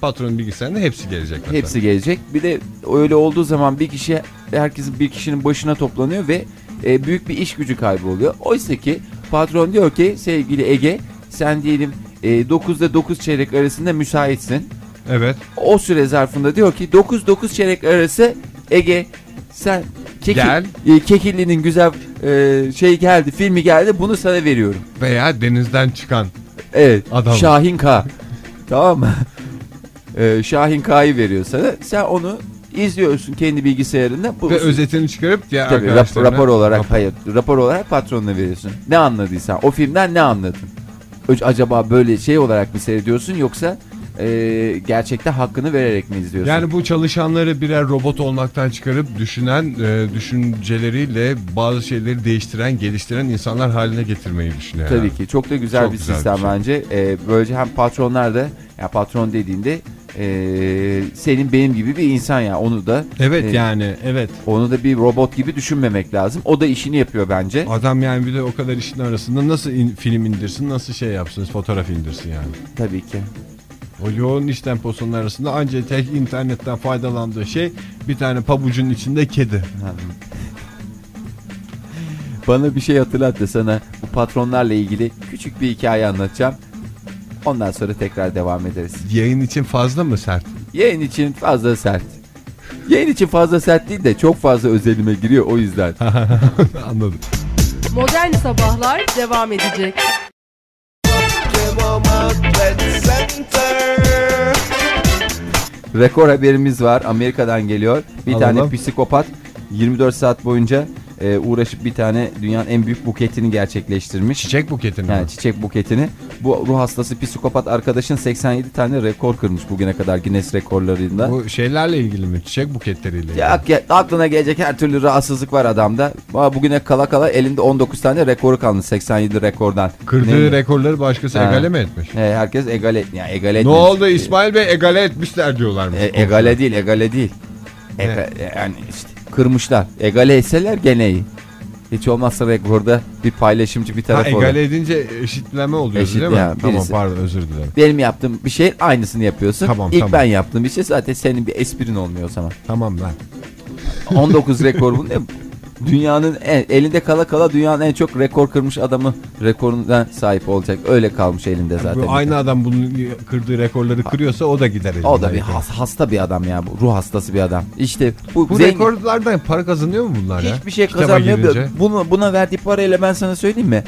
Speaker 2: Patronun bilgisayarında hepsi gelecek. Mesela.
Speaker 1: Hepsi gelecek. Bir de öyle olduğu zaman bir kişi herkesin bir kişinin başına toplanıyor ve e, büyük bir iş gücü kaybı oluyor. Oysa ki patron diyor ki sevgili Ege sen diyelim e, 9'da 9 çeyrek arasında müsaitsin.
Speaker 2: Evet.
Speaker 1: O süre zarfında diyor ki 9-9 çeyrek arası Ege sen Kekil,
Speaker 2: Gel.
Speaker 1: e, Kekilli'nin güzel e, şey geldi filmi geldi bunu sana veriyorum.
Speaker 2: Veya denizden çıkan.
Speaker 1: Evet.
Speaker 2: Adam.
Speaker 1: Şahin K. tamam mı? Ee, Şahin K'yı veriyor sana. Sen onu izliyorsun kendi bilgisayarında. Bu
Speaker 2: Ve özetini çıkarıp diğer
Speaker 1: Tabii, rap-
Speaker 2: arkadaşlarına.
Speaker 1: rapor olarak
Speaker 2: Rapor.
Speaker 1: hayır. Rapor olarak patronuna veriyorsun. Ne anladıysan o filmden ne anladın? Ö- Acaba böyle şey olarak mı seyrediyorsun yoksa e, gerçekte hakkını vererek mi izliyorsun?
Speaker 2: Yani bu çalışanları birer robot olmaktan çıkarıp düşünen, e, düşünceleriyle bazı şeyleri değiştiren, geliştiren insanlar haline getirmeyi düşünüyor.
Speaker 1: Tabii
Speaker 2: herhalde.
Speaker 1: ki çok da güzel
Speaker 2: Çok
Speaker 1: bir
Speaker 2: güzel bir
Speaker 1: sistem
Speaker 2: şey.
Speaker 1: bence. Ee, böylece hem patronlar da ya patron dediğinde ee, senin benim gibi bir insan ya onu da
Speaker 2: Evet
Speaker 1: e,
Speaker 2: yani evet.
Speaker 1: onu da bir robot gibi düşünmemek lazım. O da işini yapıyor bence.
Speaker 2: Adam yani bir de o kadar işin arasında nasıl in- film indirsin, nasıl şey yapsın, fotoğraf indirsin yani.
Speaker 1: Tabii ki.
Speaker 2: O yoğun iş temposunun arasında ancak tek internetten faydalandığı şey bir tane pabucun içinde kedi.
Speaker 1: Bana bir şey hatırlat da sana bu patronlarla ilgili küçük bir hikaye anlatacağım. Ondan sonra tekrar devam ederiz.
Speaker 2: Yayın için fazla mı sert? [LAUGHS]
Speaker 1: Yayın için fazla sert. Yayın için fazla sert değil de çok fazla özelime giriyor o yüzden.
Speaker 2: Anladım.
Speaker 3: Modern Sabahlar devam edecek.
Speaker 1: Rekor haberimiz var. Amerika'dan geliyor. Bir
Speaker 2: Alalım.
Speaker 1: tane psikopat 24 saat boyunca e, uğraşıp bir tane dünyanın en büyük buketini gerçekleştirmiş.
Speaker 2: Çiçek buketini mi?
Speaker 1: Yani çiçek buketini. Bu ruh hastası psikopat arkadaşın 87 tane rekor kırmış bugüne kadar Guinness rekorlarında.
Speaker 2: Bu şeylerle ilgili mi? Çiçek buketleriyle ilgili.
Speaker 1: Ya, ak- ya- aklına gelecek her türlü rahatsızlık var adamda. Ama Bugüne kala kala elinde 19 tane rekoru kalmış 87 rekordan.
Speaker 2: Kırdığı
Speaker 1: Ne-
Speaker 2: rekorları başkası
Speaker 1: Ha.
Speaker 2: egale mi etmiş?
Speaker 1: He, herkes egale, yani egale
Speaker 2: Ne
Speaker 1: etmemiş.
Speaker 2: oldu İsmail Bey egale etmişler diyorlarmış.
Speaker 1: E, egale değil, egale değil. Ega- e, yani işte kırmışlar. Egale etseler gene iyi. Hiç olmazsa rekorda bir paylaşımcı bir taraf
Speaker 2: Ha,
Speaker 1: olur.
Speaker 2: egale edince eşitleme oluyor
Speaker 1: Eşit-
Speaker 2: değil mi?
Speaker 1: ya,
Speaker 2: tamam
Speaker 1: birisi-
Speaker 2: pardon özür dilerim.
Speaker 1: Benim yaptığım bir şey aynısını yapıyorsun.
Speaker 2: Tamam,
Speaker 1: İlk
Speaker 2: tamam.
Speaker 1: ben yaptığım bir şey zaten senin bir esprin olmuyor o zaman.
Speaker 2: Tamam lan.
Speaker 1: 19 rekor bu ne? Dünyanın en- elinde kala kala dünyanın en çok rekor kırmış adamı rekoruna sahip olacak. Öyle kalmış elinde zaten.
Speaker 2: Bu aynı adam bunun kırdığı rekorları kırıyorsa o da gider.
Speaker 1: O
Speaker 2: elinden.
Speaker 1: da bir has- hasta bir adam ya. Bu ruh hastası bir adam. İşte bu,
Speaker 2: Bu
Speaker 1: zengin-
Speaker 2: rekorlardan para kazanıyor mu bunlar ya?
Speaker 1: Hiçbir şey
Speaker 2: Kitaba
Speaker 1: kazanmıyor.
Speaker 2: girince.
Speaker 1: Bunu, buna verdiği parayla ben sana söyleyeyim mi?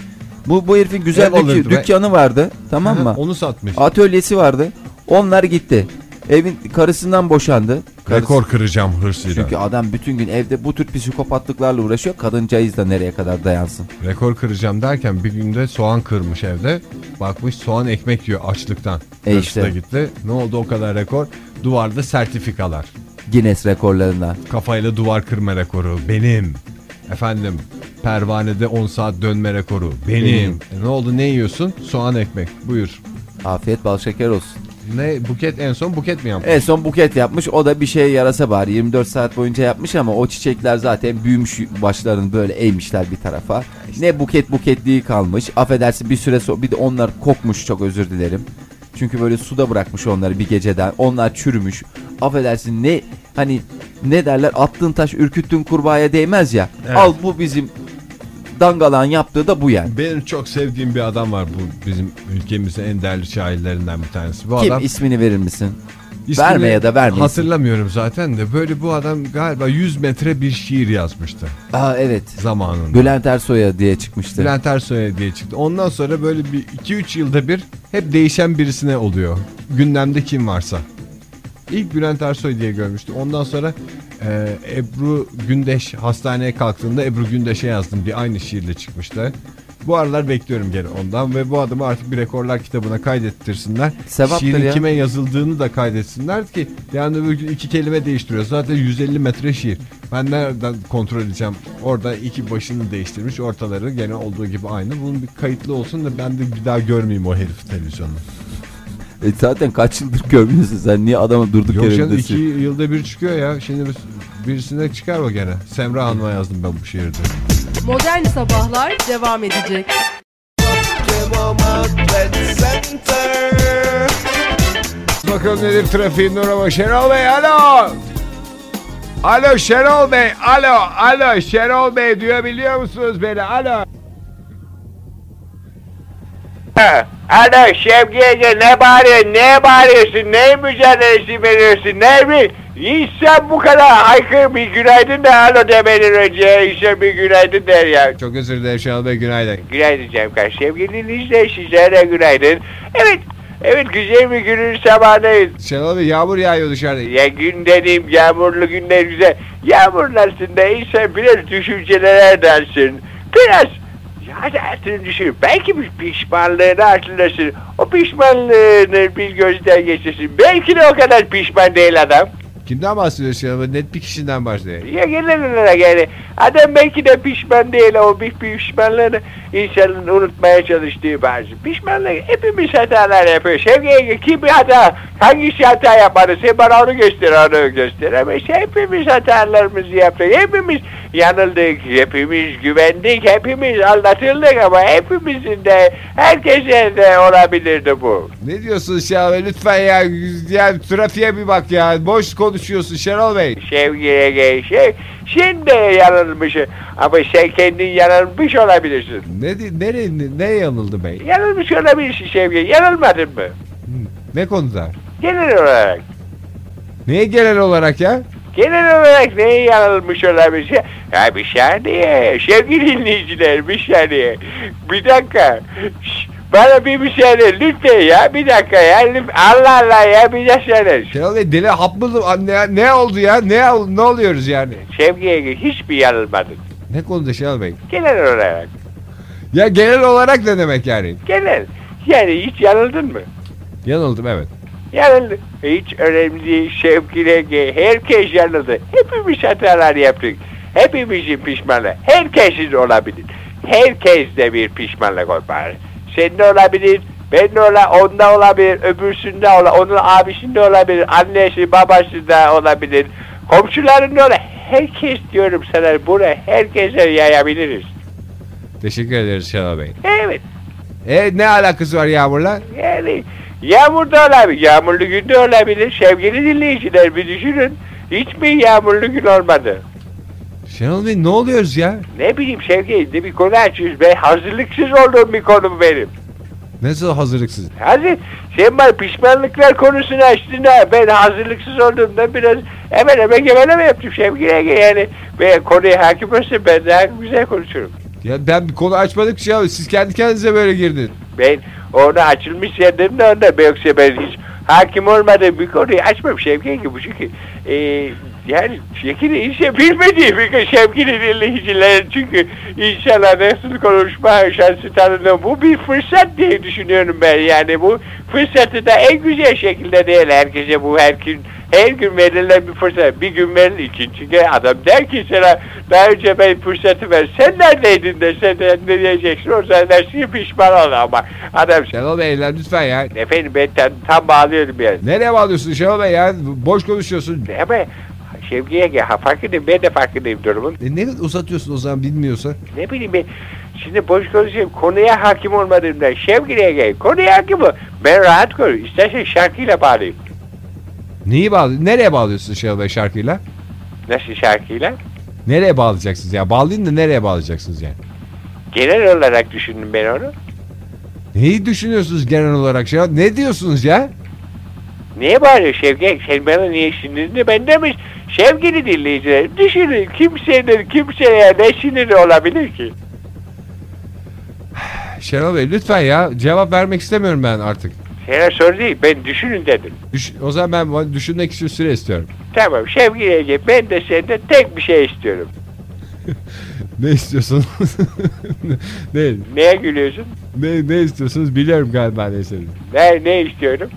Speaker 1: Bu, bu herifin güzel
Speaker 2: Ev alırdı
Speaker 1: dükü-
Speaker 2: be.
Speaker 1: dükkanı vardı. Tamam
Speaker 2: Ha,
Speaker 1: mı?
Speaker 2: Onu satmış.
Speaker 1: Atölyesi vardı. Onlar gitti. Evin karısından boşandı. Karısı-
Speaker 2: Rekor kıracağım hırsıyla.
Speaker 1: Çünkü adam bütün gün evde bu tür psikopatlıklarla uğraşıyor. Kadıncağız da nereye kadar dayansın.
Speaker 2: Rekor kıracağım derken bir günde soğan kırmış evde. Bakmış soğan ekmek yiyor açlıktan.
Speaker 1: E
Speaker 2: Hırsla
Speaker 1: işte.
Speaker 2: gitti. Ne oldu o kadar rekor? Duvarda sertifikalar.
Speaker 1: Guinness rekorlarından.
Speaker 2: Kafayla duvar kırma rekoru benim. Efendim pervanede 10 saat dönme rekoru benim.
Speaker 1: Benim.
Speaker 2: E ne oldu ne yiyorsun? Soğan ekmek. Buyur.
Speaker 1: Afiyet bal şeker olsun.
Speaker 2: Ne buket en son buket mi yapmış?
Speaker 1: En son buket yapmış. O da bir şeye yarasa bari. 24 saat boyunca yapmış ama o çiçekler zaten büyümüş başlarını böyle eğmişler bir tarafa. Ne buket buketliği kalmış. Affedersin bir süre so- bir de onlar kokmuş çok özür dilerim. Çünkü böyle suda bırakmış onları bir geceden. Onlar çürümüş. Affedersin ne hani ne derler attığın taş ürküttüğün kurbağaya değmez ya.
Speaker 2: Evet.
Speaker 1: Al bu bizim dangalan yaptığı da bu yani.
Speaker 2: Benim çok sevdiğim bir adam var bu bizim ülkemizin en değerli şairlerinden bir tanesi. Bu
Speaker 1: Kim
Speaker 2: adam
Speaker 1: ismini verir misin?
Speaker 2: İsmini
Speaker 1: Verme ya da vermeyesin.
Speaker 2: Hatırlamıyorum zaten de böyle bu adam galiba 100 metre bir şiir yazmıştı
Speaker 1: Aa evet.
Speaker 2: zamanında.
Speaker 1: Bülent Ersoy'a diye çıkmıştı.
Speaker 2: Bülent Ersoy diye çıktı. Ondan sonra böyle bir 2-3 yılda bir hep değişen birisine oluyor. Gündemde kim varsa. İlk Bülent Ersoy diye görmüştü. Ondan sonra e, Ebru Gündeş hastaneye kalktığında Ebru Gündeş'e yazdım diye aynı şiirle çıkmıştı. Bu aralar bekliyorum gene ondan ve bu adamı artık bir rekorlar kitabına kaydettirsinler.
Speaker 1: Sevaptır
Speaker 2: Şiirin
Speaker 1: ya.
Speaker 2: kime yazıldığını da kaydetsinler ki yani öbür gün iki kelime değiştiriyor. Zaten 150 metre şiir. Ben nereden kontrol edeceğim? Orada iki başını değiştirmiş ortaları gene olduğu gibi aynı. Bunun bir kayıtlı olsun da ben de bir daha görmeyeyim o herifi televizyonda.
Speaker 1: E zaten kaç yıldır görmüyorsun sen niye adamı durduk
Speaker 2: Yok
Speaker 1: yere
Speaker 2: canım iki
Speaker 1: öndesin?
Speaker 2: yılda bir çıkıyor ya. Şimdi biz- birisine çıkar o gene. Semra Hanım'a yazdım ben bu şiirde.
Speaker 3: Modern Sabahlar devam edecek.
Speaker 2: Bakalım nedir trafiğin durumu Şenol Bey alo. Alo Şenol Bey alo alo Şenol Bey duyabiliyor musunuz beni alo.
Speaker 4: Ana Şevki Ege ne bağırıyorsun ne bağırıyorsun ne mücadelesi veriyorsun ne mi? İnsan bu kadar haykır bir günaydın da alo demeden önce insan bir günaydın der ya.
Speaker 2: Çok özür dilerim Şenol Bey günaydın.
Speaker 4: Günaydın Cemkar sevgili dinleyiciler sizlere de günaydın. Evet evet güzel bir günün sabahındayız.
Speaker 2: Şenol Bey yağmur yağıyor dışarıda.
Speaker 4: Ya gün dediğim yağmurlu günler güzel. Yağmurlarsın da insan biraz düşüncelere dansın. Biraz Hayatını düşün. Belki bir pişmanlığını hatırlasın. O pişmanlığını bir gözden geçirsin. Belki de o kadar pişman değil adam.
Speaker 2: Kimden bahsediyorsun ya? Net bir kişiden bahsediyor.
Speaker 4: Ya genel olarak yani adam belki de pişman değil ama bir pişmanlığını insanın unutmaya çalıştığı bazı pişmanlık hepimiz hatalar yapıyoruz. Sevgi Ege, kim bir hata hangisi hata yapmadı sen bana onu göster onu göster ama işte hepimiz hatalarımızı yaptık hepimiz yanıldık hepimiz güvendik hepimiz aldatıldık ama hepimizin de herkese de olabilirdi bu.
Speaker 2: Ne diyorsun Şenol Bey? Lütfen ya, ya trafiğe bir bak ya. Boş konuşuyorsun Şenol Bey.
Speaker 4: Sevgiye geçecek. Sen de yanılmışsın. Ama sen kendin yanılmış olabilirsin.
Speaker 2: Ne, di- nereye, ne, neye yanıldı bey?
Speaker 4: Yanılmış olabilirsin Sevgi. Yanılmadın mı?
Speaker 2: Ne konuda?
Speaker 4: Genel olarak.
Speaker 2: Neye genel olarak ya?
Speaker 4: Genel olarak neye yanılmış olabilirsin? Ya bir saniye. Sevgili dinleyiciler bir saniye. Bir dakika. Şş, Bana bir müsaade lütfen ya bir dakika ya Lütfen. Allah Allah ya bir saniye.
Speaker 2: Şenol Bey deli hap mı? Ne, ne oldu ya? Ne, ol- ne oluyoruz yani?
Speaker 4: Sevgiye hiçbir yanılmadın.
Speaker 2: Ne konuda Şenol Bey?
Speaker 4: Genel olarak.
Speaker 2: Ya genel olarak ne demek yani?
Speaker 4: Genel. Yani hiç yanıldın mı?
Speaker 2: Yanıldım evet.
Speaker 4: Yarın hiç önemli değil Şevki'ne ge- herkes yanıldı. Hepimiz hatalar yaptık. Hepimizin pişmanlığı. Herkesin olabilir. Herkes de bir pişmanlık olmalı. Sen de olabilir, ben de ola, onda olabilir, öbürsünde ola, onun abisinde olabilir, annesi, babası da olabilir, komşularında ola. Herkes diyorum sana bunu herkese yayabiliriz.
Speaker 2: Teşekkür ederiz Şenol Bey.
Speaker 4: Evet,
Speaker 2: E ne alakası var yağmurla?
Speaker 4: yani yağmurda olabilir, yağmurlu günde olabilir. Sevgili dinleyiciler bir düşünün. Hiç mi yağmurlu gün olmadı?
Speaker 2: Şenol Bey ne oluyoruz ya?
Speaker 4: Ne bileyim Sevgi de bir konu açıyoruz ve hazırlıksız olduğum bir konu benim.
Speaker 2: Nasıl hazırlıksız?
Speaker 4: Hazır, sen bana pişmanlıklar konusunu açtın ha. Ben hazırlıksız olduğumda biraz hemen hemen geveleme yaptım Sevgi Ege yani. Ve konuya hakim olsun ben daha güzel konuşurum.
Speaker 2: Ya ben bir konu açmadık ki ya. Siz kendi kendinize böyle girdiniz.
Speaker 4: Ben onu açılmış yerlerim de onda. Ben Yoksa ben hiç hakim olmadığım bir konuyu açmam Şevki ki bu çünkü. E, yani şekilde işe şey bilmediği bir konu Şevki'nin dinleyiciler çünkü inşallah nasıl konuşma şansı tanıdım. Bu bir fırsat diye düşünüyorum ben yani bu fırsatı da en güzel şekilde değil herkese bu her gün her gün verilen bir fırsat. Bir gün verilir ikinci gün adam der ki sana daha önce ben fırsatı ver. Sen neredeydin de sen de ne diyeceksin o zaman dersin ki pişman ol ama adam sen.
Speaker 2: Şenol Bey lan lütfen ya.
Speaker 4: Efendim ben tam, tam bağlıyorum yani.
Speaker 2: Nereye bağlıyorsun Şenol Bey ya? Boş konuşuyorsun.
Speaker 4: Ama Şevki Yenge ha, farkındayım ben de farkındayım durumun.
Speaker 2: E ne uzatıyorsun o zaman bilmiyorsa?
Speaker 4: Ne bileyim ben şimdi boş konuşayım konuya hakim olmadığımdan Şevki Yenge konuya hakim ol. Ben rahat konuş. İstersen şarkıyla bağlayayım.
Speaker 2: Neyi bağlı? Nereye bağlıyorsun Şenol Bey şarkıyla?
Speaker 4: Nasıl şarkıyla?
Speaker 2: Nereye bağlayacaksınız ya? Bağlayın da nereye bağlayacaksınız yani?
Speaker 4: Genel olarak düşündüm ben onu.
Speaker 2: Neyi düşünüyorsunuz genel olarak Şenol? Ne diyorsunuz ya?
Speaker 4: Niye bağırıyor Şevket? Sen bana niye sinirli de ben demiş. Sevgili dinleyiciler düşünün kimsenin kimseye ne siniri olabilir ki?
Speaker 2: Şenol Bey lütfen ya. Cevap vermek istemiyorum ben artık.
Speaker 4: Sana soru değil ben düşünün dedim.
Speaker 2: Düş- o zaman ben düşünmek için süre istiyorum.
Speaker 4: Tamam sevgili Ege ben de senden tek bir şey istiyorum.
Speaker 2: Ne istiyorsunuz? [LAUGHS] ne,
Speaker 4: Neye gülüyorsun?
Speaker 2: ne, ne istiyorsunuz biliyorum galiba ne istediğimi.
Speaker 4: Ben ne istiyorum?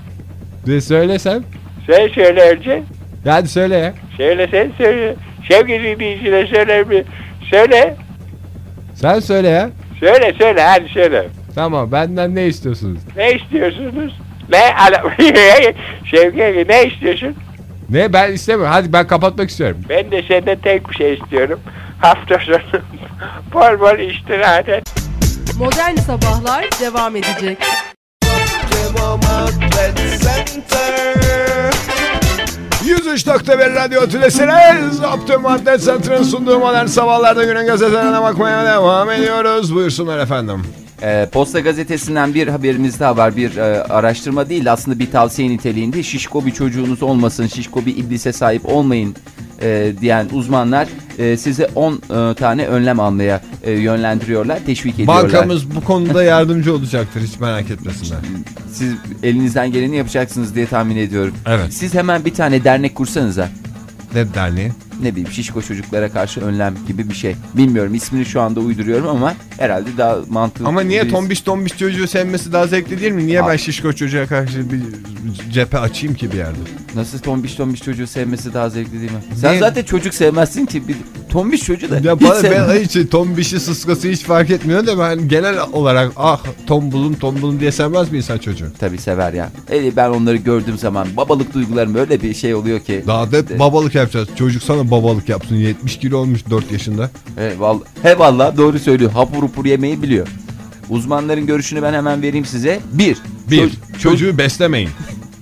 Speaker 2: Ne söylesem?
Speaker 4: Sen söyle önce.
Speaker 2: Hadi söyle ya.
Speaker 4: Söyle sen söyle. Sevgili dinleyiciler söyle mi? Söyle.
Speaker 2: Sen söyle ya.
Speaker 4: Söyle söyle hadi söyle.
Speaker 2: Tamam benden ne istiyorsunuz?
Speaker 4: Ne istiyorsunuz? Ne? ala- [LAUGHS] Şevki Ege ne istiyorsun?
Speaker 2: Ne ben istemiyorum. Hadi ben kapatmak istiyorum.
Speaker 4: Ben de senden tek bir şey istiyorum. Hafta sonu [LAUGHS] bol bol istirahat et.
Speaker 3: Modern Sabahlar devam edecek.
Speaker 5: Cem Outlet Center
Speaker 2: 103.1 Radyo Tülesi'niz Optimum Atlet Center'ın sunduğu modern sabahlarda günün gazetelerine bakmaya devam ediyoruz. Buyursunlar efendim.
Speaker 1: Ee, Posta gazetesinden bir haberimiz daha var. Bir e, araştırma değil aslında bir tavsiye niteliğinde. Şişko bir çocuğunuz olmasın, şişko bir iblise sahip olmayın e, diyen uzmanlar e, size 10 e, tane önlem almaya e, yönlendiriyorlar, teşvik ediyorlar.
Speaker 2: Bankamız bu konuda yardımcı olacaktır hiç merak etmesinler.
Speaker 1: Siz elinizden geleni yapacaksınız diye tahmin ediyorum.
Speaker 2: Evet.
Speaker 1: Siz hemen bir tane dernek kursanıza.
Speaker 2: Ne derneği?
Speaker 1: ne bileyim şişko çocuklara karşı önlem gibi bir şey. Bilmiyorum ismini şu anda uyduruyorum ama herhalde daha mantıklı.
Speaker 2: Ama niye
Speaker 1: bir-
Speaker 2: tombiş tombiş çocuğu sevmesi daha zevkli değil mi? Niye
Speaker 1: Abi.
Speaker 2: ben şişko çocuğa karşı bir cephe açayım ki bir yerde?
Speaker 1: Nasıl tombiş tombiş çocuğu sevmesi daha zevkli değil mi? Sen
Speaker 2: Ne?
Speaker 1: zaten çocuk sevmezsin ki. Bir, tombiş çocuğu da
Speaker 2: Ya
Speaker 1: hiç
Speaker 2: bana
Speaker 1: sevmem.
Speaker 2: ben hiç tombişi sıskası hiç fark etmiyor da ben genel olarak ah tombulum tombulum diye sevmez mi insan çocuğu?
Speaker 1: Tabii sever ya. E, ben onları gördüğüm zaman babalık duygularım öyle bir şey oluyor ki.
Speaker 2: Daha da
Speaker 1: De-
Speaker 2: hep babalık yapacağız. Çocuk sana babalık yapsın. 70 kilo olmuş 4 yaşında.
Speaker 1: He vallahi, he vallahi doğru söylüyor. Hapur hupur yemeyi biliyor. Uzmanların görüşünü ben hemen vereyim size. Bir.
Speaker 2: Bir,
Speaker 1: Ço- ço-
Speaker 2: çocuğu beslemeyin.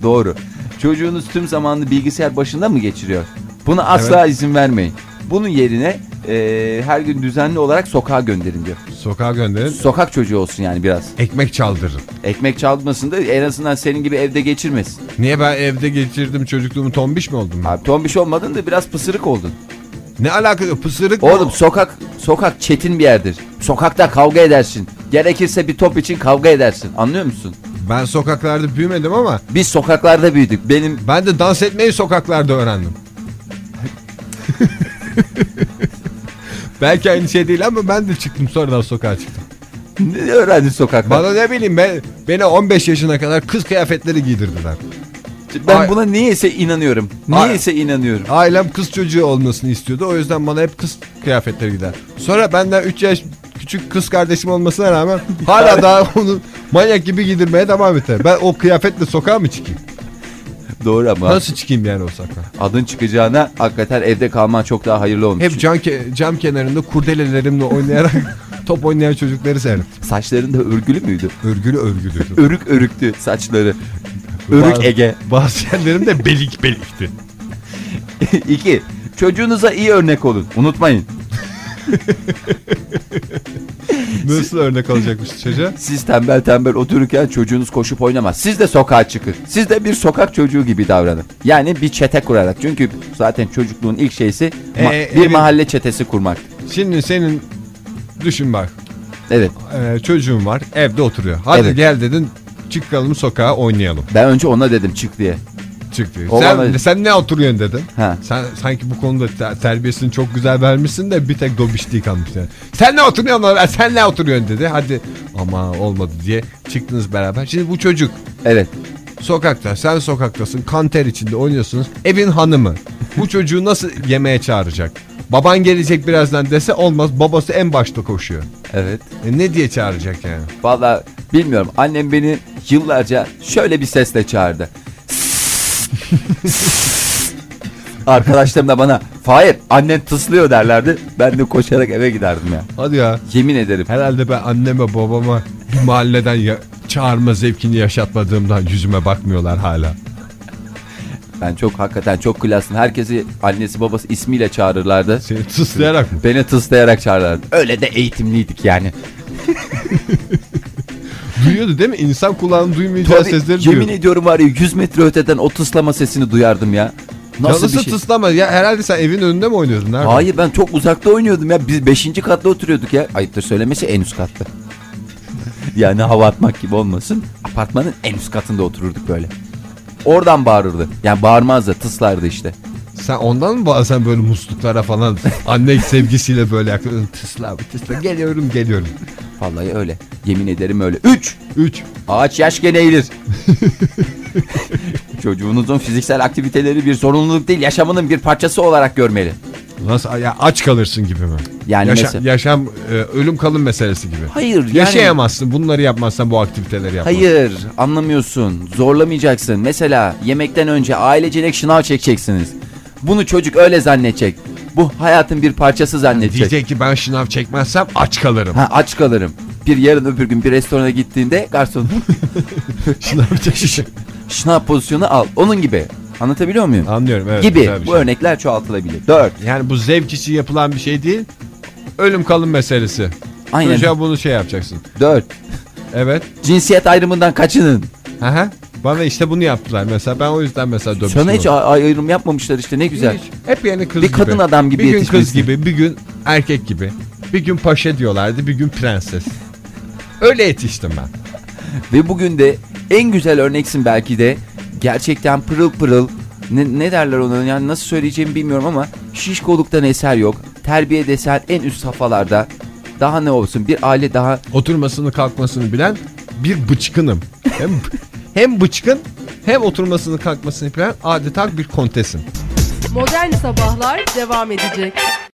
Speaker 1: Doğru. Çocuğunuz tüm zamanını bilgisayar başında mı geçiriyor? Buna asla izin vermeyin. Bunun yerine e, her gün düzenli olarak sokağa gönderin diyor.
Speaker 2: Sokağa gönderin.
Speaker 1: Sokak çocuğu olsun yani biraz.
Speaker 2: Ekmek çaldırın.
Speaker 1: Ekmek çalmasın da en azından senin gibi evde geçirmesin.
Speaker 2: Niye ben evde geçirdim çocukluğumu tombiş mi oldum?
Speaker 1: Abi tombiş olmadın da biraz pısırık oldun.
Speaker 2: Ne alakası pısırık mı?
Speaker 1: Oğlum sokak sokak çetin bir yerdir. Sokakta kavga edersin. Gerekirse bir top için kavga edersin. Anlıyor musun?
Speaker 2: Ben sokaklarda büyümedim ama
Speaker 1: Biz sokaklarda büyüdük. Benim
Speaker 2: ben de dans etmeyi sokaklarda öğrendim. [LAUGHS] Belki aynı şey değil ama ben de çıktım sonradan sokağa çıktım.
Speaker 1: ne öğrendin sokakta?
Speaker 2: Bana ne bileyim ben, beni 15 yaşına kadar kız kıyafetleri giydirdiler.
Speaker 1: ben
Speaker 2: Ay-
Speaker 1: buna niyeyse inanıyorum.
Speaker 2: Ay-
Speaker 1: Niyeyse inanıyorum.
Speaker 2: Ailem kız çocuğu olmasını istiyordu. O yüzden bana hep kız kıyafetleri gider. Sonra benden 3 yaş küçük kız kardeşim olmasına rağmen hala daha onu manyak gibi giydirmeye devam eder. Ben o kıyafetle sokağa mı çıkayım?
Speaker 1: Doğru ama
Speaker 2: Nasıl çıkayım yani o sokağa?
Speaker 1: adın çıkacağına hakikaten evde kalman çok daha hayırlı olmuş.
Speaker 2: Hep cam, ke- cam kenarında kurdelelerimle oynayarak [LAUGHS] top oynayan çocukları seyrettim.
Speaker 1: Saçların da örgülü müydü?
Speaker 2: Örgülü örgülüydü.
Speaker 1: Örük örüktü saçları. Örük
Speaker 2: Bazı-
Speaker 1: Ege. [LAUGHS]
Speaker 2: Bazı yerlerim de belik belikti.
Speaker 1: İki. Çocuğunuza iyi örnek olun. Unutmayın.
Speaker 2: Nasıl örnek olacakmış çocuğa?
Speaker 1: Siz tembel tembel otururken çocuğunuz koşup oynamaz. Siz de sokağa çıkın. Siz de bir sokak çocuğu gibi davranın. Yani bir çete kurarak. Çünkü zaten çocukluğun ilk şeysi ma-
Speaker 2: Ee,
Speaker 1: bir
Speaker 2: evet.
Speaker 1: mahalle çetesi kurmak.
Speaker 2: Şimdi senin düşün bak.
Speaker 1: Evet.
Speaker 2: Ee, çocuğun var evde oturuyor. Hadi
Speaker 1: Evet.
Speaker 2: gel dedin çıkalım sokağa oynayalım.
Speaker 1: Ben önce ona dedim çık diye.
Speaker 2: Çıktı.
Speaker 1: O
Speaker 2: Sen,
Speaker 1: bana-
Speaker 2: sen ne oturuyorsun dedim.
Speaker 1: Ha.
Speaker 2: Sen sanki bu konuda te- terbiyesini çok güzel vermişsin de bir tek dobişliği kalmış yani. Sen ne oturuyorsun lan? Sen ne oturuyorsun dedi. Hadi ama olmadı diye çıktınız beraber. Şimdi bu çocuk
Speaker 1: Evet.
Speaker 2: sokakta sen sokaktasın kanter içinde oynuyorsunuz. Evin hanımı bu çocuğu nasıl yemeğe çağıracak? Baban gelecek birazdan dese olmaz. Babası en başta koşuyor.
Speaker 1: Evet.
Speaker 2: E ne diye çağıracak yani?
Speaker 1: Valla bilmiyorum. Annem beni yıllarca şöyle bir sesle çağırdı. Arkadaşlarım da bana Fahir annen tıslıyor derlerdi. Ben de koşarak eve giderdim ya.
Speaker 2: Hadi ya.
Speaker 1: Yemin ederim.
Speaker 2: Herhalde ben anneme babama bir mahalleden ya- çağırma zevkini yaşatmadığımdan yüzüme bakmıyorlar hala.
Speaker 1: Ben çok hakikaten çok klasın. Herkesi annesi babası ismiyle çağırırlardı.
Speaker 2: Seni tıslayarak mı?
Speaker 1: Beni tıslayarak çağırırlardı. Öyle de eğitimliydik yani.
Speaker 2: Duyuyordu değil mi? İnsan kulağının duymayacağı
Speaker 1: Tabii,
Speaker 2: sesleri
Speaker 1: yemin
Speaker 2: duyuyordu.
Speaker 1: ediyorum var ya 100 metre öteden o tıslama sesini duyardım ya.
Speaker 2: Ya
Speaker 1: Nasıl
Speaker 2: Nasıl
Speaker 1: bir şey?
Speaker 2: tıslama? Ya herhalde sen evin önünde mi oynuyordun? Nerede?
Speaker 1: Hayır ben çok uzakta oynuyordum ya. Biz 5. katta oturuyorduk ya. Ayıptır söylemesi en üst katta. [LAUGHS] yani hava atmak gibi olmasın. Apartmanın en üst katında otururduk böyle. Oradan bağırırdı. Yani bağırmaz da tıslardı işte.
Speaker 2: Sen ondan mı bazen böyle musluklara falan anne sevgisiyle böyle yaklaşıyorsun? Tısla abi, tısla geliyorum geliyorum.
Speaker 1: Vallahi öyle. Yemin ederim öyle. 3.
Speaker 2: 3.
Speaker 1: Ağaç yaşken eğilir. [LAUGHS] Çocuğunuzun fiziksel aktiviteleri bir zorunluluk değil, yaşamının bir parçası olarak görmeli.
Speaker 2: Nasıl ya aç kalırsın gibi mi?
Speaker 1: Yani
Speaker 2: Yaşa-
Speaker 1: mesela-
Speaker 2: Yaşam e, ölüm kalım meselesi gibi.
Speaker 1: Hayır, yani-
Speaker 2: Yaşayamazsın bunları yapmazsan bu aktiviteleri yapmazsan.
Speaker 1: Hayır, anlamıyorsun. Zorlamayacaksın. Mesela yemekten önce ailecek şınav çekeceksiniz. Bunu çocuk öyle zannedecek. Bu hayatın bir parçası zannedecek.
Speaker 2: E, Diyecek ki ben şınav çekmezsem aç kalırım.
Speaker 1: Ha aç kalırım. Bir yarın öbür gün bir restorana gittiğinde garson [LAUGHS]
Speaker 2: şınav [LAUGHS] çekişi.
Speaker 1: şınav pozisyonu al. Onun gibi. Anlatabiliyor muyum?
Speaker 2: Anlıyorum evet.
Speaker 1: gibi.
Speaker 2: güzel bir
Speaker 1: Bu
Speaker 2: şey.
Speaker 1: örnekler çoğaltılabilir. Dört.
Speaker 2: Yani bu zevk için yapılan bir şey değil. Ölüm kalım meselesi.
Speaker 1: Aynen.
Speaker 2: Çocuğa bunu şey yapacaksın.
Speaker 1: Dört.
Speaker 2: Evet.
Speaker 1: Cinsiyet ayrımından kaçının.
Speaker 2: Aha. Bana işte bunu yaptılar mesela. Ben o yüzden mesela dövmüştüm.
Speaker 1: Sana hiç
Speaker 2: onu.
Speaker 1: ay- ayrım yapmamışlar işte ne güzel.
Speaker 2: Hiç. Hep yani kız
Speaker 1: Bir
Speaker 2: gibi.
Speaker 1: kadın adam gibi
Speaker 2: Bir gün kız
Speaker 1: yetişmesi.
Speaker 2: gibi, bir gün erkek gibi. Bir gün paşa diyorlardı, bir gün prenses. Öyle yetiştim ben.
Speaker 1: Ve bugün de en güzel örneksin belki de. Gerçekten pırıl pırıl ne, ne derler ona yani nasıl söyleyeceğimi bilmiyorum ama şişkoluktan eser yok. Terbiye desen en üst safhalarda. Daha ne olsun bir aile daha
Speaker 2: Oturmasını kalkmasını bilen bir bıçkınım. Hem, hem bıçkın hem oturmasını kalkmasını bilen adeta bir kontesim.
Speaker 3: Modern Sabahlar devam edecek.